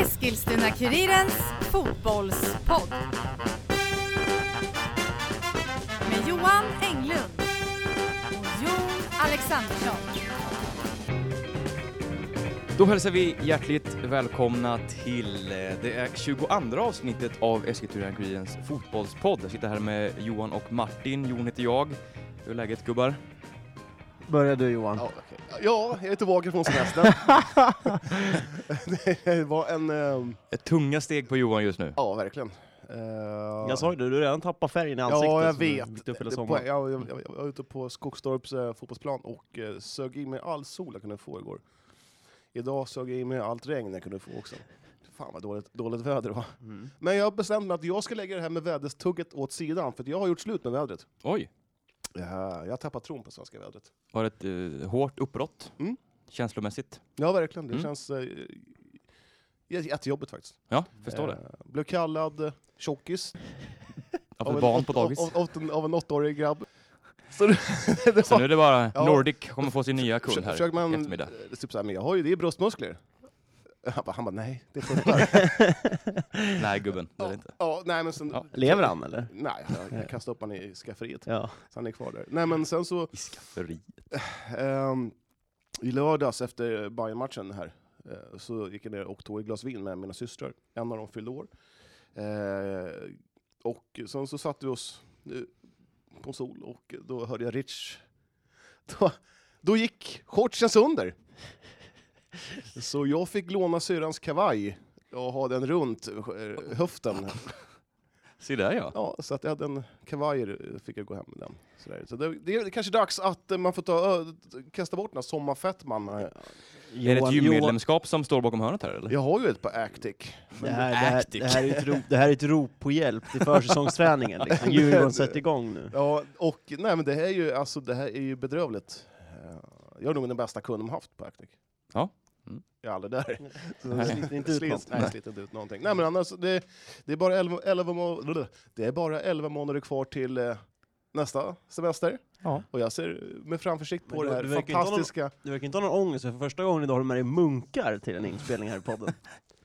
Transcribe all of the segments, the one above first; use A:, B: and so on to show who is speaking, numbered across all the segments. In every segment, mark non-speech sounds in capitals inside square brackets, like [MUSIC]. A: Eskilstuna-Kurirens fotbollspodd. Med Johan Englund och Jon Alexandersson.
B: Då hälsar vi hjärtligt välkomna till eh, det är 22 avsnittet av Eskilstuna-Kurirens fotbollspodd. Jag sitter här med Johan och Martin. Jon heter jag. Hur är läget gubbar?
C: Börja du Johan.
D: Ja, okej. ja, jag är tillbaka från [LAUGHS] semestern. det var en... ehm,
B: Ett tunga steg på Johan just nu.
D: Ja, verkligen. Eh,
E: Jag såg det, du har redan tappat färgen i ansiktet.
D: Ja, jag
E: som du
D: vet.
E: byggt upp hela
D: Det-
E: sommaren.
D: jag, jag, jag, jag var ute på Skogstorps eh, fotbollsplan och eh, sög i mig all sol jag kunde få igår. Idag sög jag i mig allt regn jag kunde få också. Fan vad dåligt, dåligt väder det var.
E: Mm.
D: Men jag har bestämt mig att jag ska lägga det här med väderstugget åt sidan, för att jag har gjort slut med vädret.
B: Oj,
D: Ja, jag har tappat tron på svenska vädret.
B: var det ett eh, hårt uppbrott?
D: Mm.
B: Känslomässigt?
D: Ja, verkligen. Det
B: Mm.
D: känns eh, jä- jättejobbigt faktiskt.
B: Ja, förstår det.
D: Eh, Blev kallad eh, tjockis
B: Av ett
D: en
B: barn
D: åt-
B: på dagis.
D: Av, av, av, en- av en åttaårig grabb.
B: [LAUGHS]
D: Så det, det
B: Så
D: var,
B: nu är det bara
D: Ja.
B: Nordic kommer få sin nya kund
D: försö-
B: här
D: försöker
B: i
D: man,
B: eftermiddag.
D: eh, typ såhär, men jag har ju det i bröstmuskler. Han bara, han bara nej, det är
B: [LAUGHS]
D: pumpar.
B: Nej gubben, det är det
D: ja,
B: inte.
D: ja, nej men sen,
B: Ja.
E: Lever han eller?
D: nej, jag, jag kastade upp han i skafferiet.
E: Ja.
D: Så han är kvar där. Nej men sen så,
B: I skafferi.
D: ehm, i lördags efter Bayern-matchen här, eh, så gick jag ner och tog ett glas vin med mina systrar. En av dem fyllde år. Eh, och sen så satte vi oss eh, på sol och då hörde jag Rich. [LAUGHS] Då, då gick shortsen sönder. Så jag fick låna syrrans kavaj och ha den runt eh, höften.
B: Se där ja.
D: Ja, så att jag hade en kavaj eh, fick jag gå hem med den. Sådär. Så det, det är kanske dags att eh, man får ta, ö, kasta bort den här sommarfettman.
B: Är det ett gymmedlemskap som står bakom hörnet här eller?
D: Jag har ju ett par Actic.
E: Det här, det, här,
B: Actic.
E: det, här är ett rop, det här är ett rop på hjälp till försäsongsträningen. Liksom. Djurgården sätter igång nu.
D: Ja, och nej men det här är ju, alltså, det här är ju bedrövligt. Eh, Jag är nog den bästa kunden de haft på Actic.
B: Ja. Mm.
D: Jag är
E: [LAUGHS]
D: aldrig där.
E: Det sliter inte ut
D: Slit-
E: något.
D: Nej, sliter inte ut någonting. Nej, men annars, det, det, är bara 11, 11 må- blablabla. det är bara 11 månader kvar till eh, nästa semester.
C: Ja.
D: Och jag ser med framförsikt på
E: Men
D: det
E: du-
D: här
E: du verkar inte ha någon-
D: fantastiska...
E: Du verkar inte ha någon ångest, för första gången idag har du med dig munkar till en inspelning här i podden.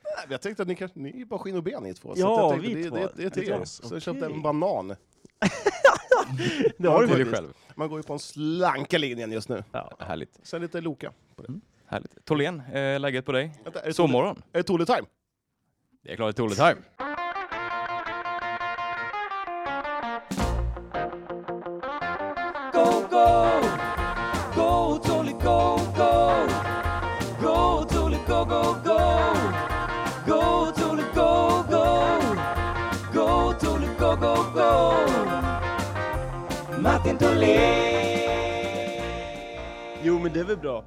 D: Nej, men jag tänkte att ni, kan, ni är bara skinn och ben ni två.
E: Ja,
D: så att jag tänkte,
E: vi
D: det,
E: två.
D: det, det är till
E: Det är
D: er.
E: oss.
D: Så jag köpte
E: Okej.
D: en banan.
E: [LAUGHS] Det har du
B: Till dig
E: faktiskt.
B: själv.
D: Man går ju på den slanka linjen just nu.
E: Ja.
B: Härligt.
D: Sen lite Loka.
B: Mm. Härligt. Tholén, eh, läget på dig?
D: Vänta, är det Tole-
B: Sovmorgon?
D: är det Tole-time?
B: Det är klart det är Tole-time.
E: Jo men det är väl bra.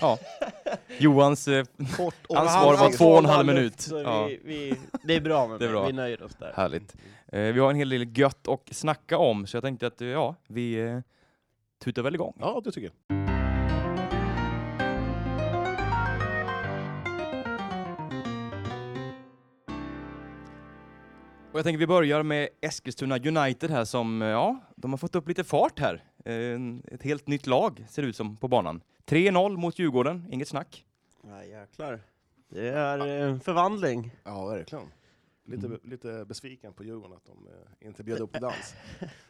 B: Ja. Johans eh,
D: Kort och
B: ansvar
E: Alltså,
B: var två och en halv minut.
E: Så
B: Ja,
E: Vi, vi, det är [LAUGHS] bra med
B: Det är
E: mig.
B: bra.
E: vi nöjer oss där.
B: härligt. Eh, vi har en hel del gött att snacka om, så jag tänkte att eh, ja, vi eh, tutar väl igång.
D: Ja, det tycker jag.
B: Och jag tänker vi börjar med Eskilstuna United här som, eh, ja, de har fått upp lite fart här. Eh, en- ett helt nytt lag ser det ut som på banan. 3-0 mot Djurgården, inget snack.
E: Ja, jäklar. Det är eh, en förvandling.
D: Ja, verkligen. Lite,
E: Mm.
D: lite besviken på Djurgården att de eh, inte bjöd upp på
E: [LAUGHS]
D: dans.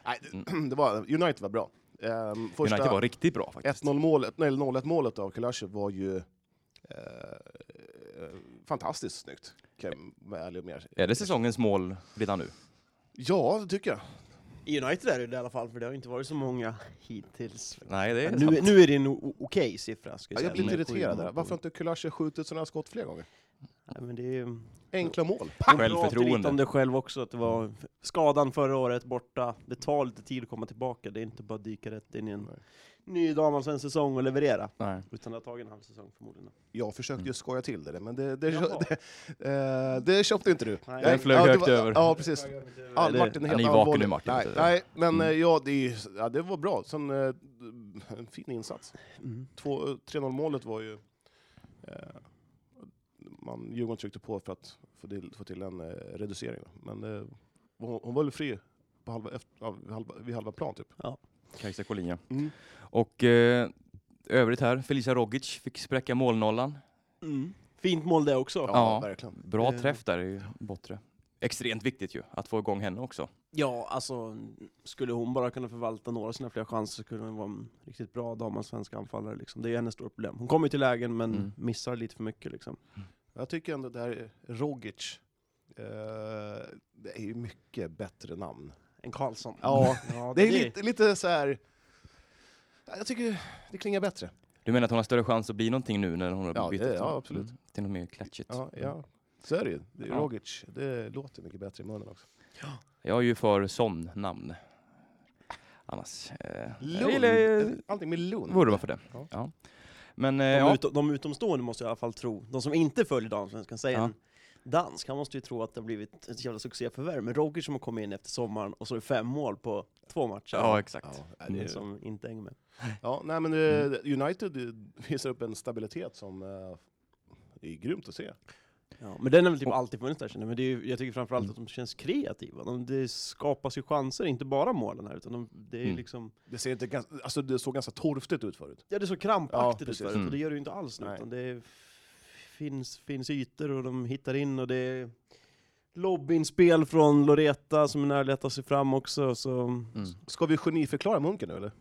D: Nej,
E: Mm.
D: [CLEARS THROAT] det, det var, United var bra. Ehm, första
B: United var riktigt bra faktiskt.
D: 1-0 målet, nej, 0-1 målet av Kulasjev var ju eh, eh, fantastiskt snyggt. Kan jag vara ärlig och mer.
B: Är det säsongens mål redan nu?
D: Ja, det tycker jag.
E: I United är det det i alla fall, för det har inte varit så många hittills.
B: Nej, det är sant.
E: Nu, nu är det en o- okej siffra, ska
D: Ja,
E: jag säga.
D: jag blir lite
E: Men-
D: irriterad där. Varför har inte Kulasjev skjutit sådana här skott fler gånger?
E: Nej, men det är ju...
D: Enkla
B: Mm.
D: mål.
B: Självförtroende.
E: lite om det själv också, att det var skadan förra året borta. Det tar lite tid att komma tillbaka, det är inte bara att dyka rätt in i en ny damallsvensk säsong och leverera.
B: Nej.
E: Utan det har tagit en halv säsong förmodligen.
D: Jag försökte ju skoja till det, men det, det,
E: Jaha.
D: det, eh, det köpte inte du.
E: Nej.
B: Den flög
D: ja, det
B: högt
D: var-
B: över.
D: Ja, precis. Ja,
E: Eller-
D: Martin är
B: Ja,
D: helt
B: ni är vaken
D: allvarlig.
B: nu, Martin. Typ. Mm.
D: Nej, nej men eh, ja, det, är, ju- ja, det var bra. Sen, eh, en fin insats.
E: Mm.
D: Två- 3-0 målet var ju... Eh, man, Djurgården tryckte på för att få till, få till en eh, reducering. då. Men eh, hon, hon var väl fri på halva, efter, ja, vid halva, vid halva plan, typ.
B: Kajsa Collin, ja.
D: Mm.
B: Och eh, övrigt här, Felicia Rogic fick spräcka målnollan.
E: Mm. Fint mål det också.
D: Ja,
E: Ja,
B: Ja.
D: verkligen.
B: Bra
E: Eh.
B: träff där i Bottre. Extremt viktigt ju, att få igång henne också.
E: alltså skulle hon bara kunna förvalta några av sina fler chanser så skulle hon vara en riktigt bra damallsvensk anfallare. Liksom. Det är ju hennes stora problem. Hon kommer ju till lägen men
B: Mm.
E: missar lite för mycket. Liksom.
D: Jag tycker ändå det här är Rogic. Eh, det är ju mycket bättre namn.
E: En Karlsson.
D: Ja,
E: Ja,
D: [LAUGHS] det är lite, lite så här... Jag tycker det klingar bättre.
B: Du menar att hon har större chans att bli någonting nu när hon har
D: Ja,
B: bytt
D: det-
B: efter?
D: ja, absolut.
B: Mm. Till något mer klatschigt. Mm.
D: Ja, ja. Mm. Så är det ju. Det är
B: Ja.
D: Rogic, det låter mycket bättre i munnen också.
B: Jag är ju för sån namn. Annars... Eh, jag
D: Lund.
B: gillar ju-
D: Allting med Lund.
B: Vore man för det.
D: Ja.
B: Ja. Men eh,
E: De,
B: ja,
E: utom, de utomstående måste jag i alla fall tro, de som inte följer damsvenskan, säger
B: Ja.
E: en dansk, han måste ju tro att det har blivit ett jävla succéförvärv. Men Roger som har kommit in efter sommaren och så är det fem mål på två matcher.
B: ja, exakt.
D: Ja, det är
E: det
D: ju-
E: är som inte hänger med.
D: Ja, nej, men eh, United eh, visar upp en stabilitet som eh, är grymt att se.
E: Ja, men den har väl typ alltid funnits där känner jag. men det är ju, jag tycker
B: Mm.
E: framförallt att de känns kreativa. De, det skapas ju chanser, inte bara målen här, utan de, det är ju
B: Mm.
E: liksom,
D: Det, ser inte gans- alltså, det såg ganska torftigt ut förut.
E: ja Mm. det är så
D: Ja,
E: krampaktigt ut
D: precis.
E: förut, och det gör det ju inte alls nu,
D: Nej.
E: utan det är, finns, finns ytor och de hittar in och det är lobbinspel från Loreta som är närligt att se fram också, så
B: Mm.
D: Ska vi geniförklara Munken nu eller?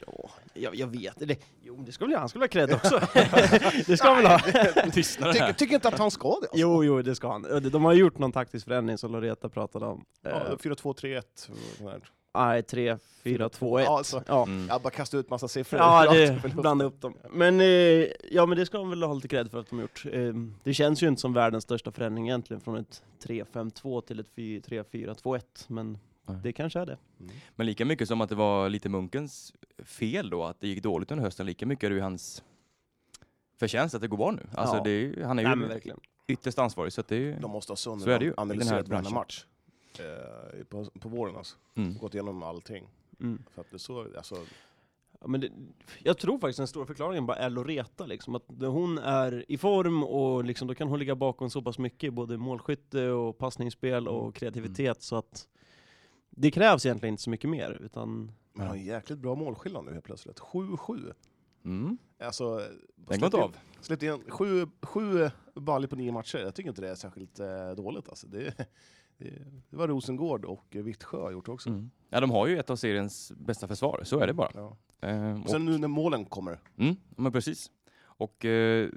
E: Ja, jag, jag vet det. Jo, men det ska väl han skulle ha cred också. [LAUGHS] det ska han väl ha.
B: [LAUGHS] Tystnar det
D: Tycker
B: här?
D: tycker inte att han ska det? Alltså.
E: Jo, jo, det ska han. De de har gjort någon taktisk förändring som Loreta pratade om.
D: Ja,
E: Eh,
D: 4-2-3-1. och sånt där.
E: Nej, 3, 4, 2, 1.
D: Ja, alltså.
E: Ja,
B: Mm.
D: Jag bara kastar ut massa siffror.
E: ja
D: Jag ska
E: det,
D: väl-
E: blanda upp dem. Men, eh, ja, men det ska de väl ha lite cred för att de har gjort. Eh, det känns ju inte som världens största förändring egentligen, från ett 3-5-2 till ett 3-4-2-1. Men
B: Nej.
E: det kanske är det.
D: Mm.
B: Men lika mycket som att det var lite Munkens fel då, att det gick dåligt under hösten, lika mycket är det ju hans förtjänst att det går bra nu. Alltså
E: Ja.
B: det är, ju- han är
E: Nej,
B: ju
E: men verkligen.
B: yttest ansvarig så att det är ju...
D: De måste ha sönder
B: Så är det ju i den här
D: analyserat varenda
B: branschen.
D: match. Eh, på, på våren alltså.
B: Mm.
D: Gått igenom allting.
E: Mm.
D: För att det är så, alltså,
E: Ja, men det, jag tror faktiskt den stora förklaringen bara är Loreta, liksom, att när hon är i form och liksom, då kan hon ligga bakom så pass mycket, i både målskytte och passningsspel och kreativitet, så att det krävs egentligen inte så mycket mer. Utan,
D: man har en jäkligt bra målskillnad nu helt plötsligt. 7-7.
B: Mm.
D: Alltså,
B: Den går inte av.
D: Släppt in sju, sju baller på nio matcher. Jag tycker inte det är särskilt eh, dåligt. Alltså. Det, det, det var Rosengård och eh, Vittsjö har gjort också.
B: Mm. Ja, de har ju ett av seriens bästa försvar, så är det bara.
D: Ja.
B: Eh, och-
D: Sen nu när målen kommer.
B: Mm, men precis. Och eh,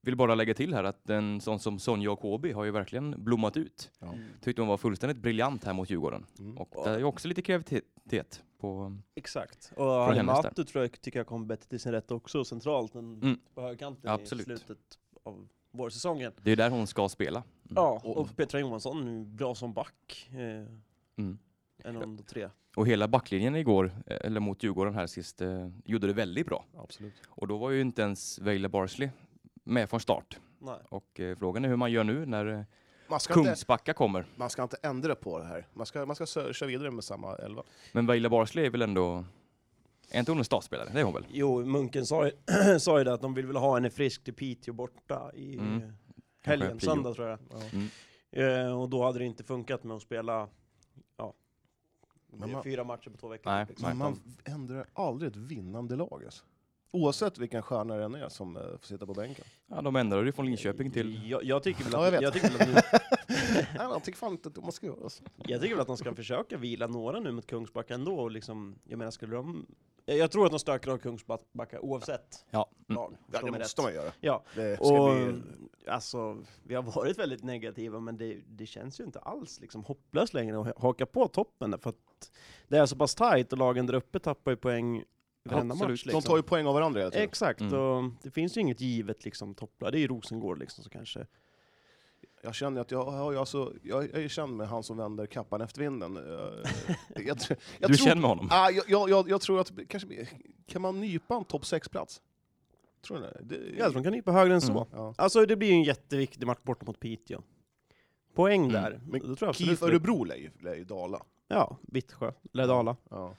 B: vill bara lägga till här att en sån som Sonja och Kobi har ju verkligen blommat ut.
D: Ja.
B: Tyckte hon var fullständigt briljant här mot Djurgården.
D: Mm.
B: Och det är ju också lite kreativitet på...
E: Exakt. Och Hanna
B: hennes där.
E: Matu tror jag, tycker jag kom bättre till sin rätt också, centralt, än
B: Mm.
E: på högerkanten
B: Absolut. Mm.
E: i slutet av vårsäsongen.
B: Det är ju där hon ska spela. Mm.
E: Ja,
D: Och-
E: och, Petra Johansson, nu bra som back. Eh,
B: Mm.
E: en av de tre.
B: Och hela backlinjen igår, eh, eller mot Djurgården här sist, eh, gjorde det väldigt bra.
D: Absolut.
B: Och då var ju inte ens Vejle Barsley med från start.
E: Nej.
B: Och eh, frågan är hur man gör nu när eh,
D: Man ska, inte,
B: Kungsbacka kommer.
D: man ska inte ändra på det här. Man ska, man ska sö- köra vidare med samma elva.
B: Men Vejle Barsley är väl ändå... Är inte hon en startspelare? Det är hon väl?
E: Jo, Munken sa ju, sa ju [CLEARS THROAT] det att de vill väl ha henne frisk till Piteå borta i
B: Mm.
E: eh, helgen,
B: prio.
E: söndag tror jag.
B: Mm.
E: Eh, och då hade det inte funkat med att spela ja,
D: Men
E: det är
D: man-
E: fyra matcher på två veckor.
B: Nej,
E: liksom.
D: Men man ändrar aldrig ett vinnande lag. Alltså. Oavsett vilken stjärna det än är som eh, får sitta på [LAUGHS] bänken.
B: Ja, de ändrade ju från Linköping till...
E: Jag, jag tycker väl
D: Ja, jag
E: att,
D: vet.
E: jag tycker väl att, ni-
D: Nej, jag tycker fan inte att man ska göra så.
E: jag tycker väl att de ska försöka vila några nu mot Kungsbacka ändå. Och liksom, jag menar, skulle de... Jag, jag tror att de stökar av Kungsbacka oavsett
B: Ja. Mm.
E: lag.
D: Ja,
E: förstå
D: det
E: mig
D: måste
E: rätt.
D: man göra.
E: Ja,
D: Det ska
E: Och,
D: bli...
E: alltså, vi har varit väldigt negativa, men det, det känns ju inte alls liksom hopplöst längre att haka på toppen, där, för att det är så pass tajt och lagen där uppe tappar ju poäng i varenda
B: absolut.
E: match.
D: De
E: Liksom.
D: tar ju poäng av varandra hela tiden.
E: Exakt,
B: Mm.
E: och det finns ju inget givet liksom, topplag. Det är ju Rosengård liksom, så kanske...
D: Jag känner att jag, jag, jag, så, jag, jag är känd med han som vänder kappan efter [LAUGHS] vinden. Jag, jag, jag, tror- jag
B: Du
D: tror,
B: känner med honom?
D: Ah, jag, jag, jag, jag tror att kanske, kan man nypa en topp 6-plats? Tror ni det? det
E: Ja, de kan nypa högre än så.
B: Mm.
D: ja.
E: Alltså det blir ju en jätteviktig match borta mot Piteå. Poäng
B: Mm.
E: där.
D: Men
E: Då tror jag absolut
D: KIF
E: det-
D: Örebro lär ju- lär ju dala. Mm.
E: Ja, Vittsjö, eller Dala.
D: Ja.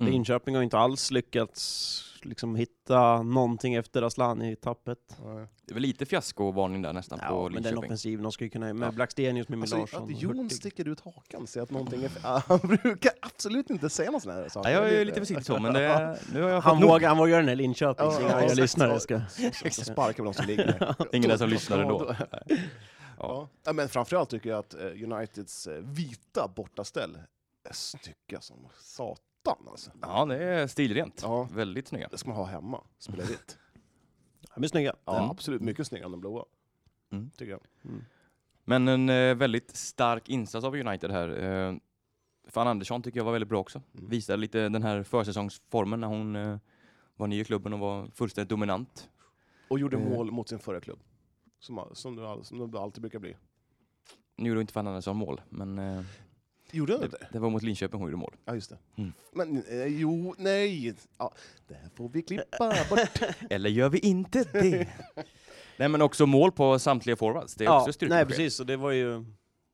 B: Mm.
E: Linköping har inte alls lyckats liksom, hitta någonting efter Asllani i tappet.
B: Det är väl lite fiaskovarning där nästan på
E: Ja, men den
B: Linköping.
E: offensiven, de ska ju kunna, med
B: Ja.
E: Blackstenius, med
D: Alltså,
E: Larsson,
D: att Jon
E: Hurtig.
D: sticker ut hakan säger att någonting är fel. [LAUGHS] Han brukar absolut inte säga något sånt här. saker.
B: Nej, jag
D: Det
B: är lite
D: [LAUGHS]
B: försiktig så, men det, nu har jag fått
E: Han
B: nog.
E: vågar, han vågar den här Linköping,
D: Ja,
E: så
D: ja,
E: inga arga
D: exakt.
E: lyssnare
D: Ja.
E: ska...
D: Så sparkar vi de som ligger ner.
B: [LAUGHS] Ingen där som lyssnade då.
D: [LAUGHS] Ja, Ja. Ja, men framförallt tycker jag att eh, Uniteds eh, vita bortaställ är snygga som satan alltså.
B: Ja, det är stilrent.
D: Ja.
B: Väldigt snygga.
D: Det ska man ha hemma,
B: [LAUGHS]
D: spela vitt.
E: De är snygga.
D: Ja,
B: Mm.
D: absolut. Mycket snyggare än de blåa.
B: Mm.
D: Tycker jag.
B: Men en eh, väldigt stark insats av United här. Eh, Fan Andersson tycker jag var väldigt bra också.
D: Mm.
B: Visade lite den här försäsongsformen när hon eh, var ny i klubben och var fullständigt dominant.
D: Och gjorde
B: Eh.
D: mål mot sin förra klubb. Som, som, det, all- som det alltid brukar bli.
B: Nu gjorde inte Fan Andersson mål, men eh,
D: Gjorde han
B: det,
D: det?
B: det var mot Linköping hon gjorde mål.
D: Ja, just det.
B: Mm.
D: Men eh, jo, nej. Ja, det här får vi klippa
E: [LAUGHS]
D: bort.
B: Eller gör vi inte det? [LAUGHS] Nej men också mål på samtliga forwards, det är också styrkebesked.
E: Nej precis, och det var ju,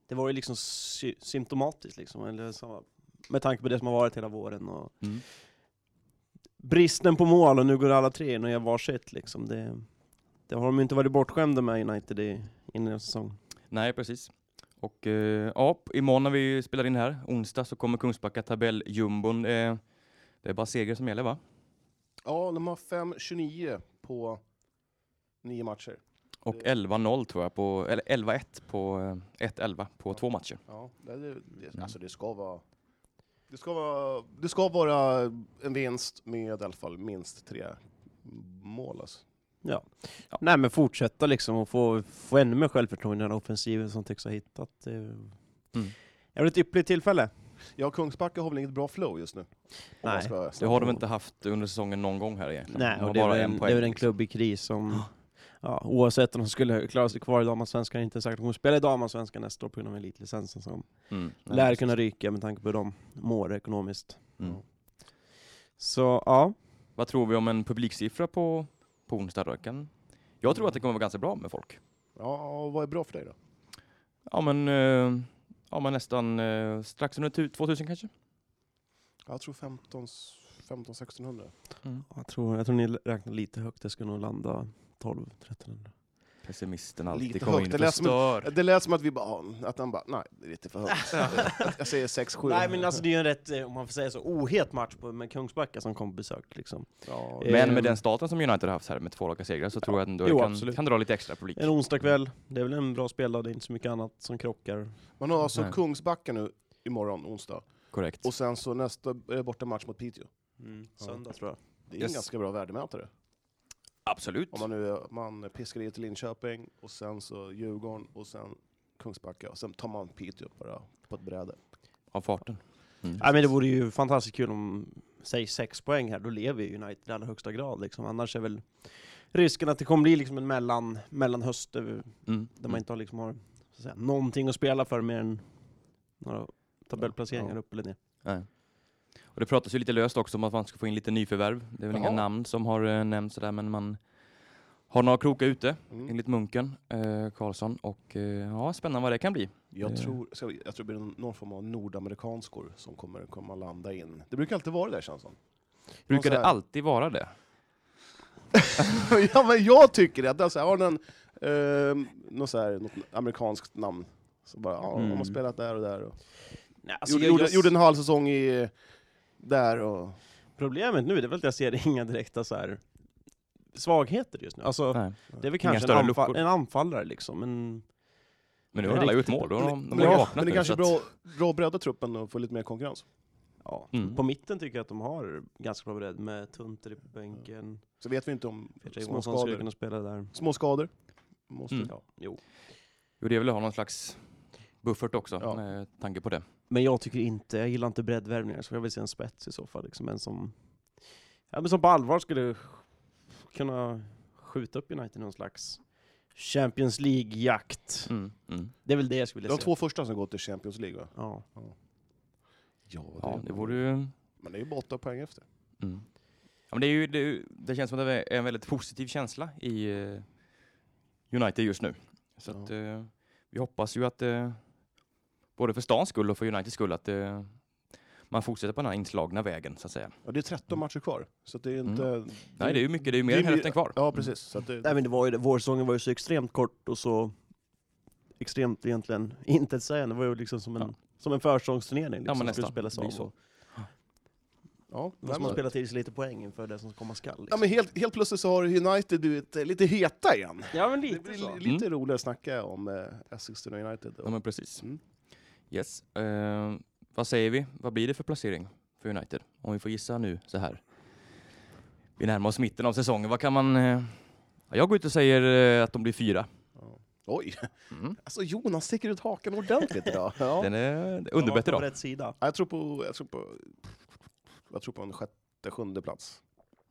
E: det var ju liksom sy- symptomatiskt liksom, eller så, med tanke på det som har varit hela våren och
B: Mm.
E: bristen på mål och nu går alla tre in och gör varsitt liksom. Det, det har de ju inte varit bortskämda med United i, innan den säsongen.
B: Nej, precis. Och eh, ja, imorgon när vi spelar in här, onsdag, så kommer Kungsbacka tabelljumbon. Eh, det är bara seger som gäller va?
D: Ja, de har 5-29 på nio matcher.
B: Och
D: Det-
B: 11-0 tror jag, på, eller 11-1 på eh, 1-11 på två matcher.
D: Ja, det, det, det,
B: Mm.
D: alltså det ska vara... Det ska, vara, det ska vara en vinst med i alla fall minst tre mål. Alltså.
E: Nej men fortsätta liksom och få, få ännu mer självförtroende i den här offensiven som tycks ha hittat. Det är ju-
B: Mm.
E: jävligt ypperligt tillfälle.
D: Ja, Kungsbacka har väl inget bra flow just nu? om man
E: Nej,
D: ska-
B: Det har de inte haft under säsongen någon gång här egentligen.
E: Nej,
B: De har
E: och det är,
B: bara
E: väl en, det är väl en
B: liksom.
E: klubb i kris som, ja, oavsett om de skulle klara sig kvar i damallsvenskan, inte säkert att de spelar i damallsvenskan nästa år på grund av elitlicensen som
B: Mm. Nej,
E: lär
B: precis.
E: kunna ryka med tanke på hur de mår ekonomiskt.
B: Mm.
E: Så ja,
B: Vad tror vi om en publiksiffra på, på onsdag då? Kan- Jag tror att det kommer vara ganska bra med folk.
D: Ja, och vad är bra för dig då?
B: Ja men, eh, ja, men nästan eh, strax under tu- 2000 kanske?
D: Jag tror 15 15-1600.
E: jag tror, jag tror ni räknar lite högt. Det ska nog landa 12 1300
B: Pessimisten alltid
D: Lite
B: kommer
D: högt,
B: in
D: det
B: och
D: lät som en-
B: förstör.
D: Eh, Det lät som att vi bara, att han bara, nej, det är lite för
E: [LAUGHS]
D: högt. jag säger 6-7.
E: Nej men alltså det är ju en rätt, eh, om man får säga så, ohet match på, med Kungsbacka som kom på besök liksom.
D: Ja,
E: Eh,
B: Men med den starten som United har haft här med två raka segrar så tror jag att
E: Jo,
B: det kan,
E: absolut.
B: kan dra lite extra publik.
E: En onsdagkväll, det är väl en bra speldag, det är inte så mycket annat som krockar.
D: man har alltså
B: Nej.
D: Kungsbacka nu imorgon, onsdag.
B: Korrekt.
D: Och sen så nästa eh, bortamatch mot Piteå.
E: Mm, Söndag tror jag.
D: Det är
B: Yes.
D: en ganska bra värdemätare.
B: Absolut.
D: Om man nu man piskar i till Linköping, och sen så Djurgården, och sen Kungsbacka. Och sen tar man Piteå bara på ett bräde.
B: Av farten. Mm.
E: Nej men det vore ju fantastiskt kul om, säg sex poäng här, då lever ju United i allra högsta grad liksom. Annars är väl risken att det kommer bli liksom en mellan, mellanhöst över-
B: Mm.
E: där man inte har, liksom har så att säga, någonting att spela för mer än några tabellplaceringar
D: Ja.
E: upp eller ner.
B: Nej. Och det pratas ju lite löst också om att man ska få in lite nyförvärv. Det är väl inga
D: Jaha.
B: namn som har eh, nämnts sådär, men man har några krokar ute,
D: Mm.
B: enligt Munken, eh, Karlsson. Och eh, ja, spännande vad det kan bli.
D: Jag,
B: Det-
D: tror, ska vi, jag tror det blir någon form av nordamerikanskor som kommer komma landa in. Det brukar alltid vara det där känns det som. [LAUGHS]
B: Brukar
D: så
B: det
D: här-
B: alltid vara det?
D: ja, men jag tycker det. Att alltså, har den, eh, något, så här, något amerikanskt namn. Så bara, ja, de
E: Mm.
D: har spelat där och där. Och.
E: Nej, alltså,
D: gjorde,
E: jag,
D: gjorde,
E: jag,
D: gjorde en halv säsong i, där och...
E: Problemet nu det är väl att jag ser [LAUGHS] inga direkta så här, svagheter just nu. Alltså,
B: Nej.
E: det är väl
B: Inga
E: kanske
B: större
E: en, anfall,
B: luckor.
E: en anfallare liksom, men
B: Men nu
E: Det är
B: har alla gjort
E: riktigt-
B: mål. Då har de, de har ju
D: ja,
B: vaknat
D: men det
B: nu,
D: kanske är
B: så att-
D: bra, bra att bredda truppen och få lite mer konkurrens.
E: ja.
B: Mm.
E: På mitten tycker jag att de har ganska bra bredd med Tunter i bänken,
D: Så vet vi inte om
E: Petra
D: små
E: Johansson skulle
D: skador.
E: kunna spela där.
D: Små skador. Måste,
B: Mm.
E: Ja, jo.
B: Jo, det vill ha någon slags buffert också,
D: Ja.
B: med tanke på det.
E: Men jag tycker inte, jag gillar inte breddvärvningar, så jag vill se en spets i så fall. Liksom, en som, ja, men som på allvar skulle kunna skjuta upp United i någon slags Champions League-jakt.
B: Mm. Mm.
E: Det är väl det jag skulle
D: De
E: vilja se.
D: två första som går till Champions League va?
E: Ja.
B: Ja, det Mm. vore ju
D: Men det är ju bara åtta poäng efter.
B: Mm. Ja, men det, är ju, det, är ju- det känns som att det är en väldigt positiv känsla i eh, United just nu. Så
D: Ja.
B: att, eh, vi hoppas ju att, eh, både för stans skull och för Uniteds skull, att eh, man fortsätter på den här inslagna vägen så att säga.
D: Ja, det är 13 matcher kvar, så att det är inte...
B: Mm. Nej, det är ju mycket, det är ju mer
D: det är
B: än
D: ju-
B: hälften kvar.
D: Ja, precis. Så att det,
E: Nej men det var ju det, vårsäsongen var ju så extremt kort och så extremt egentligen [LAUGHS] intetsägande. Det var ju liksom som en,
B: Ja.
E: som en försäsongsturnering
B: Ja,
E: liksom,
B: men
E: som
B: nästan.
E: skulle spelas
B: Det
E: av.
B: blir så.
E: Och,
D: ja,
E: det var som
D: nej,
E: att
D: men-
E: spela till sig lite poäng inför det som komma skall.
D: Ja,
E: Liksom.
D: men helt, helt plötsligt så har United blivit eh, lite heta igen.
E: Ja men
D: Det blir li- lite roligare att snacka om eh, Eskilstuna United.
B: Mm. Ja, men precis.
D: Mm.
B: Yes. Eh, vad säger vi? Vad blir det för placering för United? Om vi får gissa nu så här. Vi närmar oss mitten av säsongen. Vad kan man... eh, ja, Jag går ut och säger eh, att de blir fyra.
D: Oj,
B: Mm.
D: alltså Jonas sticker ut hakan ordentligt idag. [LAUGHS] Ja.
B: Den är underbett
E: På
B: idag.
E: rätt sida.
D: Ja, Jag, tror på, jag, tror på, jag tror på en sjätte, sjunde plats.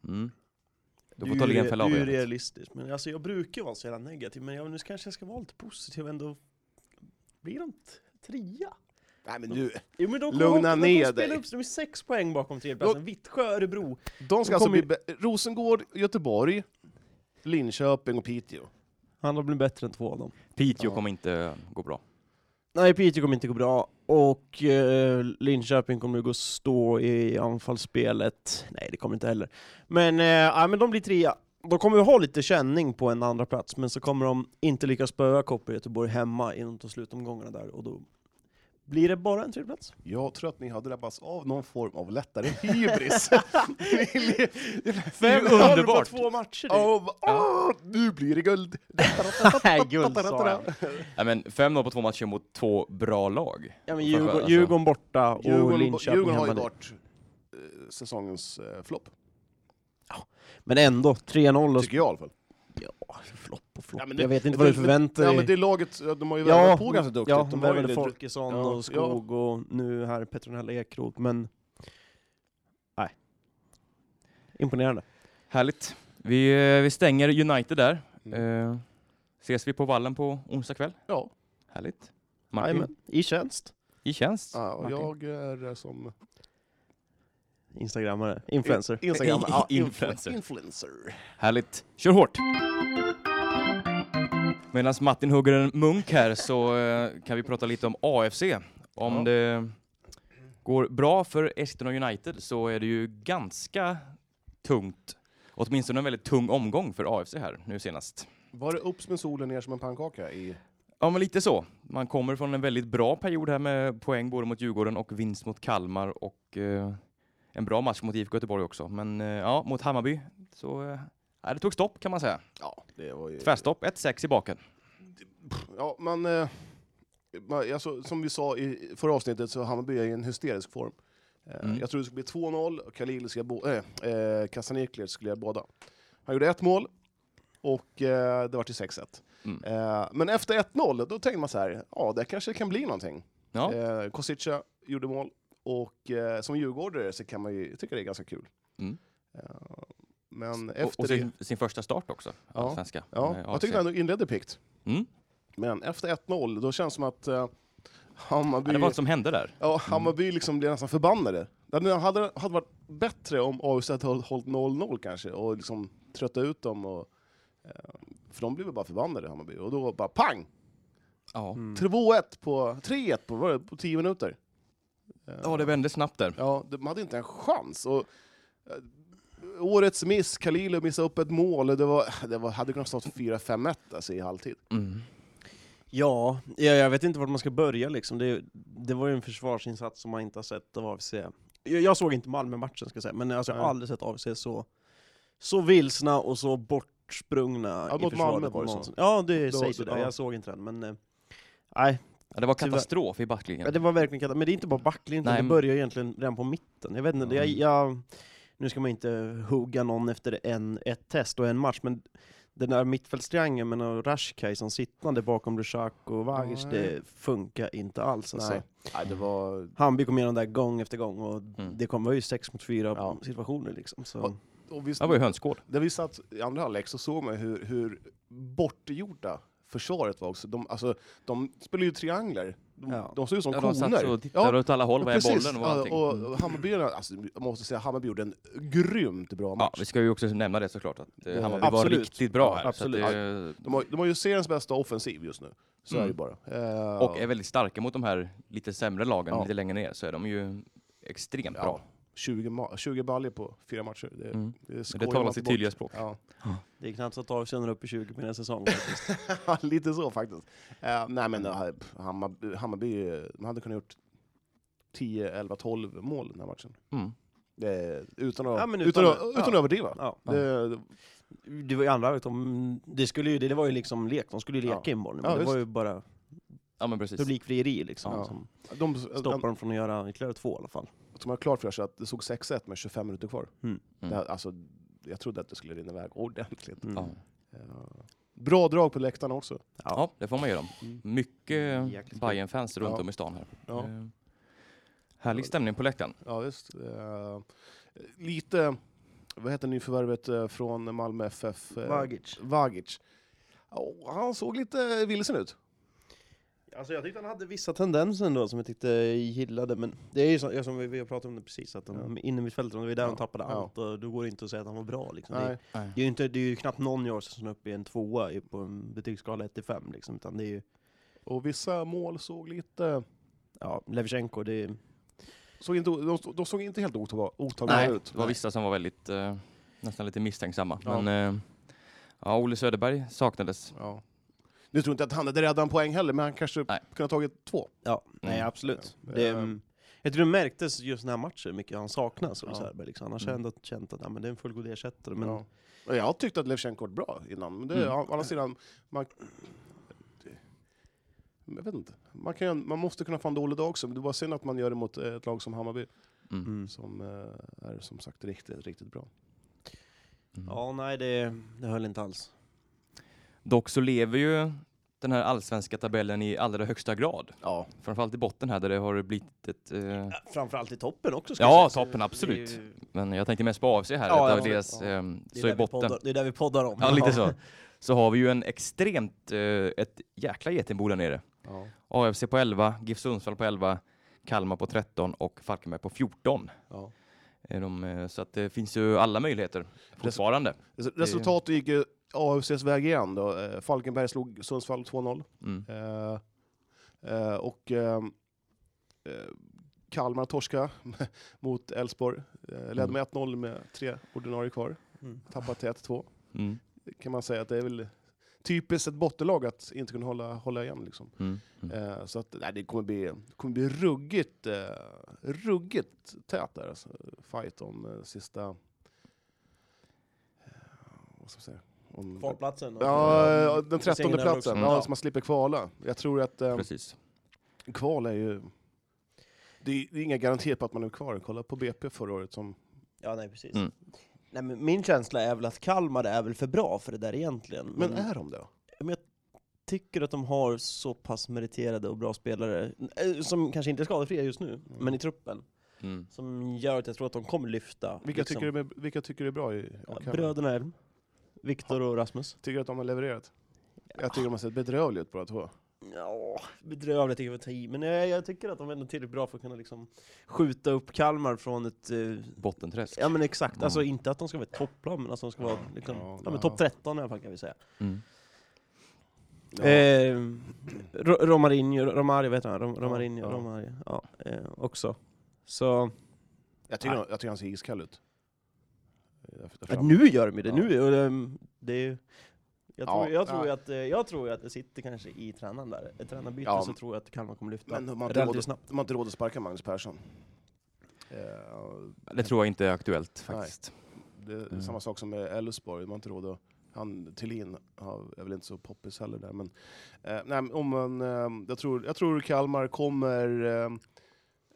B: Mm. Då
E: Du
B: får
E: är
B: Tolgen
E: ju-
B: fälla
E: Du är ju
B: avgörandet.
E: realistisk, men alltså jag brukar ju vara så jävla negativ, men jag, nu kanske jag ska vara lite positiv ändå. Blir de t- trea?
D: Nej, men du.
E: Jo men de kommer-
D: Lugna
E: de kommer
D: ner
E: spela
D: dig.
E: Upp, sig. de är sex poäng bakom tredjeplatsen, Vittsjö, Örebro.
D: De ska alltså
E: kommer
D: bli bä- Rosengård, Göteborg, Linköping och Piteå.
E: Han har blivit bättre än två av dem.
B: Piteå
D: Ja.
B: kommer inte gå bra.
E: Nej, Piteå kommer inte gå bra, och eh, Linköping kommer ju gå och stå i anfallsspelet. Nej, det kommer inte heller. Men, eh, ja, men de blir trea. De kommer ju ha lite känning på en andra plats men så kommer de inte lyckas spöa Koppar Göteborg hemma i de slutomgångarna där, och då blir det bara en tredjeplats.
D: Jag tror att ni har drabbats av någon form av lättare [LAUGHS] hybris.
B: Fem- Underbart.
E: två matcher [LAUGHS] nu.
D: Av, åh, nu blir
E: [LAUGHS]
D: det guld!
E: Nej, guld sa jag.
B: Nej, men 5-0 på två matcher mot två bra lag.
E: Ja, men
B: Och framförallt, alltså.
E: Djurgården, Djurgården borta och
D: Djurgården,
E: Oh, Linköping
D: Djurgården har ju
E: hemma.
D: varit eh, säsongens eh, flopp,
E: Men ändå, 3-0 och...
D: tycker jag i alla fall.
E: Ja, flopp och flopp.
D: Ja, men det-
E: jag vet inte vad du
D: det-
E: förväntar
D: Ja,
E: dig.
D: men det laget, eh, de har ju värvat på ganska duktigt.
E: Ja, de
D: var ju
E: värvade
D: lite-
E: Folkesson
D: ja,
E: och Skog och nu här Petronella Ekroth, men... Nej. Imponerande.
B: Härligt. Vi, eh, vi stänger United där.
D: Mm.
B: Eh, ses vi på vallen på onsdag kväll?
D: Ja.
B: Härligt. Martin,
E: Jajamän. I tjänst.
B: i tjänst.
D: Ja, och
B: Martin.
D: jag är eh, som...
E: Instagrammare. Influencer.
D: Instagram. ja,
B: Influencer.
D: influencer.
B: Härligt. Kör hårt! Medan Martin hugger en munk här så eh, kan vi prata lite om AFC. Om
D: Ja.
B: det går bra för Eskilstuna United så är det ju ganska tungt. Åtminstone en väldigt tung omgång för AFC här nu senast.
D: Var det upp med solen ner som en pannkaka i...
B: Ja, men lite så. Man kommer från en väldigt bra period här med poäng både mot Djurgården och vinst mot Kalmar och eh, en bra match mot IFK Göteborg också. Men eh, ja, mot Hammarby så eh, ja, det tog stopp kan man säga.
D: Ja, det var ju...
B: Tvärstopp, 1-6 i baken.
D: Ja, men... eh, man- Alltså, som vi sa i förra avsnittet så Hammarby är i en hysterisk form. Eh,
B: Mm.
D: Jag tror det skulle bli 2-0 och Khalil ska bo- äh, eh, Kasaniklic skulle göra båda. Han gjorde ett mål och eh, det var till 6-1.
B: Mm.
D: Eh, men efter 1-0, då tänkte man så här, ja det kanske kan bli någonting.
B: Ja.
D: Eh, Kosica gjorde mål och eh, som djurgårdare så kan man ju tycka det är ganska kul.
B: Mm.
D: Eh, men
B: Och-
D: efter
B: och
D: det...
B: sin, sin första start också,
D: Ja.
B: ja. svenska.
D: Ja, jag tyckte han inledde piggt.
B: Mm.
D: Men efter 1-0, då känns det som att eh,
B: Ja,
D: Hammarby,
B: det
D: ja,
B: var vad som hände där.
D: Hammarby liksom blev nästan förbannade. Det hade, hade varit bättre om AFC hade håll- hållit 0-0 kanske och liksom trötta ut dem. Och, eh, för de blev ju bara förbannade, Hammarby. Och då bara pang!
B: Ja.
E: Mm.
D: 2-1 på 3-1 på, vad var det, på 10 minuter. Eh,
B: ja, det vände snabbt där.
D: Ja, de hade inte en chans. Och, eh, årets miss, Kalilu missade upp ett mål. och Det, var, det var, hade kunnat stått 4-5-1 alltså, i halvtid.
B: Mm.
E: Ja, ja, jag vet inte vart man ska börja liksom. Det, det var ju en försvarsinsats som man inte har sett av AFC. Jag, jag såg inte Malmö-matchen ska jag säga, men alltså, jag har
D: Nej.
E: aldrig sett AFC så, så vilsna och så bortsprungna
D: Ja,
E: i
D: mot
E: försvaret.
D: Malmö var det så.
E: någonsin. Ja, det
D: Då-
E: sägs ju
D: då-
E: det.
D: ja.
E: Jag såg inte den, men... eh, Nej,
B: Ja, det var
E: Tyvärr.
B: katastrof i
E: ja.
B: backlinjen.
E: det var verkligen katastrof. Men det är inte bara backlinjen, utan
B: Nej,
E: det
B: men-
E: börjar ju egentligen redan på mitten. Jag vet inte,
B: Ja.
E: jag,
D: Mm.
E: jag, nu ska man inte hugga någon efter en, ett test och en match, men den där mittfältstriangeln med Rashkajsan sittande bakom Lushak och Vagic,
D: Nej.
E: det funkar inte alls alltså.
D: Nej. Nej, det var...
E: Hamby kom igenom där gång efter gång och det kom, var ju sex mot fyra
D: Mm. Ja.
E: situationer liksom.
D: Och-
E: Så.
D: Och vi,
B: Det var ju hönsgård.
D: När vi satt i andra halvlek så såg man hur, hur bortgjorda försvaret var också. De, alltså, de spelade ju trianglar. De,
E: Ja.
D: de såg ut som
B: Ja,
D: koner.
B: de satt och tittade åt alla håll, var är
D: precis.
B: bollen och
D: Ja,
B: allting. Mm.
D: och, och Hammarby, alltså, jag måste säga, Hammarby gjorde en grymt bra
B: Ja,
D: match.
B: vi ska ju också nämna det såklart, att eh,
D: Eh,
B: Hammarby var
D: absolut.
B: riktigt bra här.
D: Ja, absolut.
B: Så att, eh,
D: de, har, de har ju seriens bästa offensiv just nu. Så är det
B: Mm.
D: bara. Eh,
B: och är väldigt starka mot de här lite sämre lagen
D: Ja.
B: lite längre ner, så är de ju extremt
D: Ja,
B: bra.
D: 20, ma- 20 baller på fyra matcher. Det,
B: Mm.
D: det,
B: Men
D: skojar
B: det talar
D: man
B: sitt
D: inte bort.
B: tydliga språk.
D: Ja.
E: Det är knappt så att Davidsson är uppe i 20 på den här säsongen. [LAUGHS]
D: Ja, [LAUGHS] Lite så faktiskt. Eh, nej men eh, Hammarby, Hammarby, eh, de hade kunnat gjort 10, 11, 12 mål den här matchen.
B: Mm.
D: Eh, utan att,
E: Ja, men
D: utan,
E: utan
D: att,
E: att-
D: utan att
E: ja.
D: överdriva.
E: ja.
D: Det, det,
E: Det var ju andra halvlek, de- det, skulle ju, det var ju liksom lek, de skulle ju leka
D: Ja.
E: in bollen.
D: Ja,
E: Men det
D: visst.
E: var ju bara
B: Ja men precis.
E: publikfrieri liksom,
D: Ja.
E: som
D: de,
E: stoppade
D: de,
E: dem från att göra ytterligare två i alla fall.
D: de har klart för sig att det såg 6-1 med 25 minuter kvar.
E: Mm.
B: Mm.
D: Det, alltså, jag trodde att det skulle rinna iväg ordentligt.
E: Mm.
B: Ja.
D: Eh, bra drag på läktarna också.
B: ja, det får man ge dem.
D: Mm.
B: Mycket
E: Jäkligt bra.
B: bayern fans runt
D: Ja.
B: om i stan här.
D: Ja.
B: Eh, Härlig stämning på läktaren.
D: Ja, visst. Eh, lite, vad heter nyförvärvet eh, från Malmö FF? eh,
E: Vagic.
D: Vagic. Ja, han såg lite vilsen ut.
E: Alltså jag tyckte han hade vissa tendenser ändå som jag tyckte jag gillade, men det är ju så, ja, som vi, vi har pratat om det precis, att de, inne i mittfältet, det var ju där
D: Ja.
E: de tappade
D: Ja.
E: allt, och då går det inte att säga att han var bra liksom. Det,
D: Nej.
E: är- det, är ju inte, det är ju knappt någon i år som är uppe i en tvåa i- på en betygsskala 1-5 liksom, utan det är ju,
D: Och vissa mål såg lite...
E: ja, Levchenko, det är,
D: Såg inte, de, de såg inte helt otag- otagbara
B: Nej,
D: ut.
B: det var vissa som var väldigt, eh, nästan lite misstänksamma.
D: Ja.
B: Men eh, ja, Olle Söderberg saknades.
D: Ja. Nu tror jag inte att han hade räddat en poäng heller, men han kanske
B: Nej.
D: kunde ha tagit två.
E: ja, nej
B: Mm.
E: absolut.
D: Ja.
E: Det, är,
D: Eh.
E: mm, jag tror det märktes just den här matchen, hur mycket han saknas,
D: Ja. Mm.
E: ja. Söderberg liksom. Annars har jag ändå känt att ja, men det är en fullgod ersättare, men
D: Ja. Och Jag tyckte att Levchenko var bra innan, men det,
B: Mm.
D: å andra sidan... Man, det- jag vet inte. Man, kan, ju- man måste kunna få en dålig dag också, men det var synd att man gör det mot eh, ett lag som Hammarby,
B: Mm.
E: Mm.
D: som eh, är som sagt riktigt, riktigt bra.
B: Mm.
E: Ja, nej det, det höll inte alls.
B: Dock så lever ju den här allsvenska tabellen i allra högsta grad.
D: Ja.
B: Framförallt i botten här där det har blivit ett... Eh,
E: Ja, Framförallt i toppen också ska
B: ja,
E: jag säga.
B: toppen absolut.
E: Det är ju-
B: Men jag tänkte mest på AFC här.
E: Ja,
B: att
E: ja,
B: deras,
E: ja.
B: ehm,
E: det är
B: så
E: där
B: i
E: vi
B: botten.
E: Poddar, det är där vi poddar om.
B: Ja, lite så. Så har vi ju en extremt, eh, ett jäkla getingbo där nere.
D: Ja.
B: AFC på 11, GIF Sundsvall på 11, Kalmar på 13 och Falkenberg på 14.
D: Ja.
B: Är de, eh, så att det finns ju alla möjligheter fortfarande.
D: Res- Resultatet gick Alltså, ju AFCs väg igen då. Eh, Falkenberg slog Sundsvall 2-0.
B: Mm.
D: Eh, eh, och eh, eh, Kalmar torska [LAUGHS] mot Elfsborg. Eh, ledde
B: Mm.
D: med 1-0 med tre ordinarie kvar.
E: Mm.
D: Tappat till 1-2.
B: Mm.
D: Det Kan man säga att det är väl typiskt ett bottenlag att inte kunna hålla, hålla igen. Liksom.
B: Mm. Mm.
D: Eh, så att, nej, det kommer bli, kommer bli ruggigt, eh, ruggigt tät där. Alltså, fight om eh, sista... Eh, vad ska man säga? Om,
E: Kvalplatsen. och-
D: Ja, eh, den trettonde
E: Segern där
D: platsen,
E: också.
D: ja,
E: Ja.
D: så man slipper kvala. Jag tror att eh,
B: Precis.
D: kval är ju... Det är, det är inga garantier på att man är kvar. Kolla på BP förra året som...
E: Ja, nej precis.
B: Mm.
E: Nej, men min känsla är väl att Kalmar är väl för bra för det där egentligen.
D: Men är de det?
E: tycker att de har så pass meriterade och bra spelare, eh, som kanske inte är skadefria just nu, men i truppen,
B: Mm.
E: som gör att jag tror att de kommer lyfta. liksom.
D: Vilka, tycker, du är, vilka tycker du är bra i och
E: ja,
D: Kalmar?
E: Bröderna Elm, Viktor och Rasmus.
D: Tycker du att de har levererat? Jag tycker de har sett bedrövliga ut båda två.
E: Ja, bedrövligt tycker jag var att ta i, men eh, jag, jag tycker att de är ändå tillräckligt bra för att kunna liksom skjuta upp Kalmar från ett eh,
B: Bottenträsk.
E: Ja men exakt,
B: Mm.
E: alltså inte att de ska vara ett topplag men att de ska vara liksom,
D: Ja,
E: ja,
D: ja.
E: men topp 13 i alla fall kan vi säga.
B: Mm.
D: Ja.
E: Eh, Ro- Romarinho, Romario vet du vad? Rom-
D: Ja,
E: Romarinho,
D: ja.
E: Romario, ja, eh, också. Så,
D: jag, tycker de, jag tycker han ser iskall ut. Eh, Där- där
E: ja,
D: framme.
E: nu gör de ju det,
D: Ja.
E: nu, och det, det är ju- jag tror,
D: Ja,
E: jag, tror
D: ja.
E: ju att, eh, jag tror ju att det sitter kanske i tränaren där, ett tränarbyte
D: Ja.
E: så tror jag att Kalmar kommer lyfta
D: Men de har, inte
E: relativt
D: råd,
E: snabbt.
D: de har inte råd att sparka Magnus Persson. Eh,
B: Det tror jag inte är aktuellt faktiskt.
D: Det är
B: Mm.
D: samma sak som med Elfsborg, de har inte råd att... Han, Thelin har- är väl inte så poppis heller där, men... Eh, nej, men om man, eh, jag, tror, jag tror Kalmar kommer eh,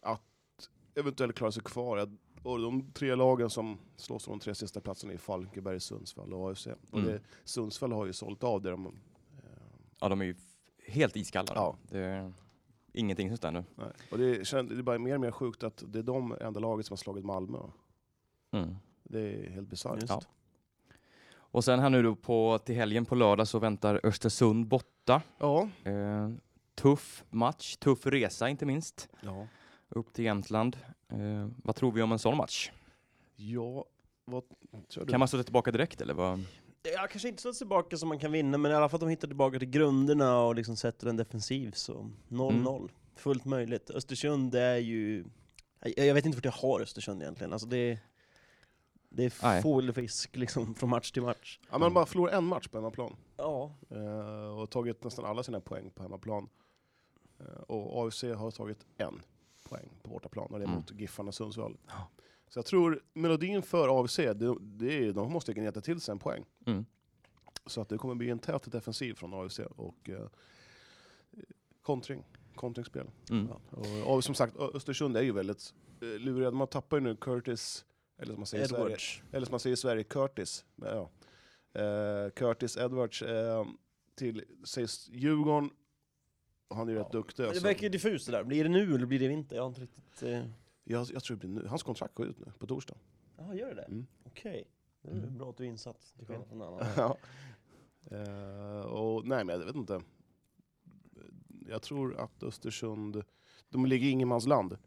D: att eventuellt klara sig kvar. Jag- Och de tre lagen som slåss om de tre sista platserna är Falkenberg, Sundsvall och AFC. Och
B: Mm.
D: det, Sundsvall har ju sålt av det de... Eh,
B: Ja, de är ju f- helt iskalla.
D: Ja.
B: Det är ingenting som stämmer.
D: nej. Och det, kän- det är bara mer och mer sjukt att det är de enda laget som har slagit Malmö.
B: Mm.
D: Det är helt bisarrt.
E: Just.
B: Ja. Och sen här nu då på, till helgen på lördag så väntar Östersund borta.
D: Ja.
B: Eh, tuff match, tuff resa inte minst.
D: ja.
B: Upp till Jämtland. Eh, vad tror vi om en sån match?
D: Ja, vad tror du?
B: Kan man stå tillbaka direkt eller? Vad?
E: Ja, kanske inte så tillbaka som man kan vinna, men i alla fall att de hittar tillbaka till grunderna och
D: Mm.
E: liksom sätter en defensiv, så 0-0. Fullt möjligt. Östersund är ju Jag, jag vet inte vart jag har Östersund egentligen. Alltså det, det är
B: Nej.
E: full fisk liksom, från match till match.
D: Ja, man bara förlorar en match på hemmaplan
E: Ja,
D: eh, och tagit nästan alla sina poäng på hemmaplan. Eh, och AFC har tagit en poäng på bortaplan och det är
B: Mm.
D: mot Giffarna Sundsvall. Så jag tror melodin för AFC, det, det är, de måste gneta till sig en poäng.
B: Mm.
D: Så att det kommer bli en tät defensiv från AFC och eh, kontring, kontringsspel.
B: Mm.
E: Ja.
D: Och, och som sagt, Ö- Östersund är ju väldigt eh, luriga. Man tappar ju nu Curtis, eller som man säger i Sverige,
E: Edwards.
D: eller som man säger i Sverige, Curtis. Men Ja. Eh, Curtis Edwards eh, till sägs Djurgården. Han är ju rätt
E: Ja.
D: duktig.
E: Men Det
D: Alltså.
E: verkar ju diffust det där. Blir det nu eller blir det vinter? Jag har inte riktigt... eh,
D: Jag, jag tror det blir nu. Hans kontrakt går ut nu på torsdag.
E: Jaha, gör det det?
D: Mm.
E: Okej. Det är
D: Mm.
E: bra att du är insatt, till skillnad från annan.
D: [LAUGHS] Ja. Eh, och, nej, men jag vet inte. Jag tror att Östersund, de ligger i ingenmansland.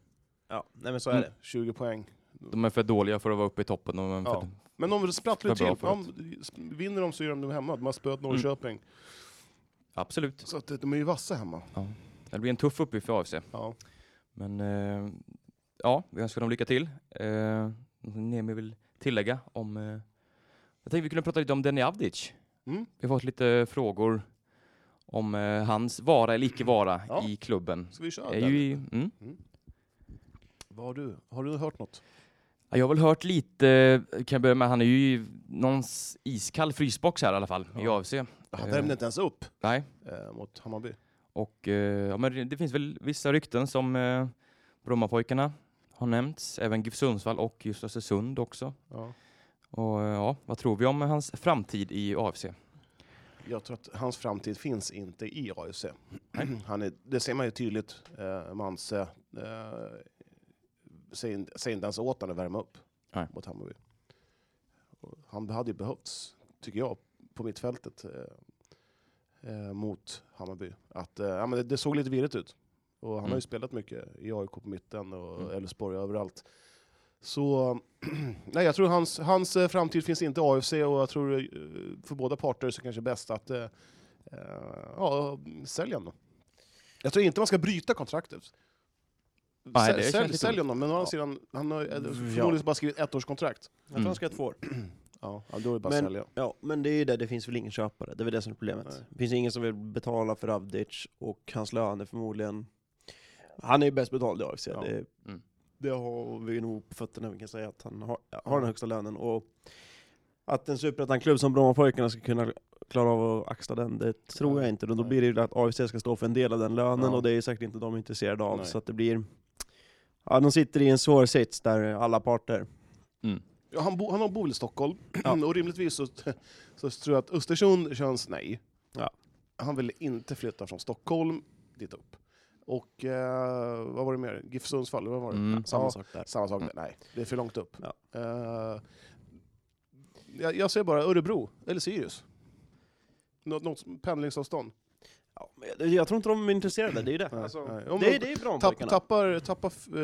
E: Ja, nej men så
B: är
E: är
B: Mm.
E: det.
B: det.
D: 20 poäng.
B: De är för dåliga för att vara uppe i toppen. De är
D: Ja.
B: för...
D: Men de sprattlar ju
B: Vad bra Mm.
D: till. De, sp- vinner de så gör de det hemma. De har spöat Norrköping.
B: Absolut.
D: Så att eh, de är ju vassa hemma.
B: Det blir en tuff uppgift för AFC.
D: Ja.
B: Men eh, ja, vi önskar dem lycka till. Eh, något Nemi vill tillägga om... Eh, jag tänkte vi kunde prata lite om Denny Avdic.
D: Mm.
B: Vi har fått lite frågor om eh, hans vara eller icke vara
D: Ja.
B: i klubben.
D: Ska vi köra
B: Är
D: den?
B: ju i, mm.
D: Vad har, du, har du hört något?
B: Ja, Jag har väl hört lite, kan jag börja med, han är ju i någons iskall frysbox här i alla fall i
D: Ja.
B: AFC.
D: Han
B: Eh.
D: värmde inte ens upp
B: Nej,
D: eh, mot Hammarby.
B: Och eh, ja, men det- det finns väl vissa rykten som eh, Brommapojkarna har nämnts, även GIF Sundsvall och just Östersund också.
D: Ja.
B: Och eh, ja, vad tror vi om hans framtid i AFC?
D: Jag tror att hans framtid finns inte i AFC. Han är, det ser man ju tydligt. Eh, Manse eh, säger, inte- säger inte ens åt honom att värma upp
B: Nej.
D: mot Hammarby. Och Han hade ju behövts, tycker jag, på mittfältet eh, eh, mot Hammarby. Att, eh, ja, men det, det såg lite virrigt ut. Och han har
B: Mm.
D: ju spelat mycket i AIK på mitten och
B: Mm.
D: Elfsborg överallt. Så [CLEARS THROAT] nej, jag tror hans, hans eh, framtid finns inte i AFC och jag tror eh, för båda parter så kanske bäst att eh, eh, ja, sälja honom. Jag tror inte man ska bryta kontraktet.
B: Nej,
D: Sälj-
B: det känns
D: sälj,
B: lite
D: sälj honom, men å andra
E: Ja.
D: sidan, han har ju, eh,
E: Ja.
D: förmodligen bara skrivit ett års kontrakt.
E: Jag tror han
D: Mm.
E: ska ha två år.
D: Ja, då är det bara
E: Men-
D: att sälja.
E: Ja, men det är ju det, det finns väl ingen köpare. Det är väl det som är problemet.
D: Nej.
E: Det finns ingen som vill betala för Avdic och hans lön är förmodligen... Han är ju bäst betald i AFC.
D: Ja.
E: Det,
B: Mm.
E: det har vi nog på fötterna, vi kan säga att han har, har den högsta lönen. Och att en superettan-klubb som Brommapojkarna ska kunna klara av att axla den, det tror jag inte. Då, då
D: Nej.
E: blir det ju att AFC ska stå för en del av den lönen
D: Ja.
E: och det är säkert inte de intresserade av.
D: Nej.
E: Så att det blir... Ja, de sitter i en svår sits där, alla parter.
D: Ja, han, bo, han bor väl i Stockholm,
E: Ja.
D: [CLEARS THROAT] och rimligtvis så, [LAUGHS] så tror jag att Östersund känns nej.
E: Ja.
D: Han vill inte flytta från Stockholm dit upp. Och eh, vad var det mer? GIF Sundsvall, vad var det?
B: Mm.
E: Samma
D: Ja,
E: sak där.
D: Samma sak, där. nej. Det är för långt upp.
E: Ja.
D: Eh, jag, jag säger bara Örebro, eller Sirius. Något, något pendlingsavstånd.
E: Ja, men jag, jag tror inte de är intresserade, det är ju det.
D: Nej,
E: Alltså,
D: nej. Om
E: det,
D: de-
E: det är bra med
D: Tapp,
E: pojkarna.
D: tappar tappar eh,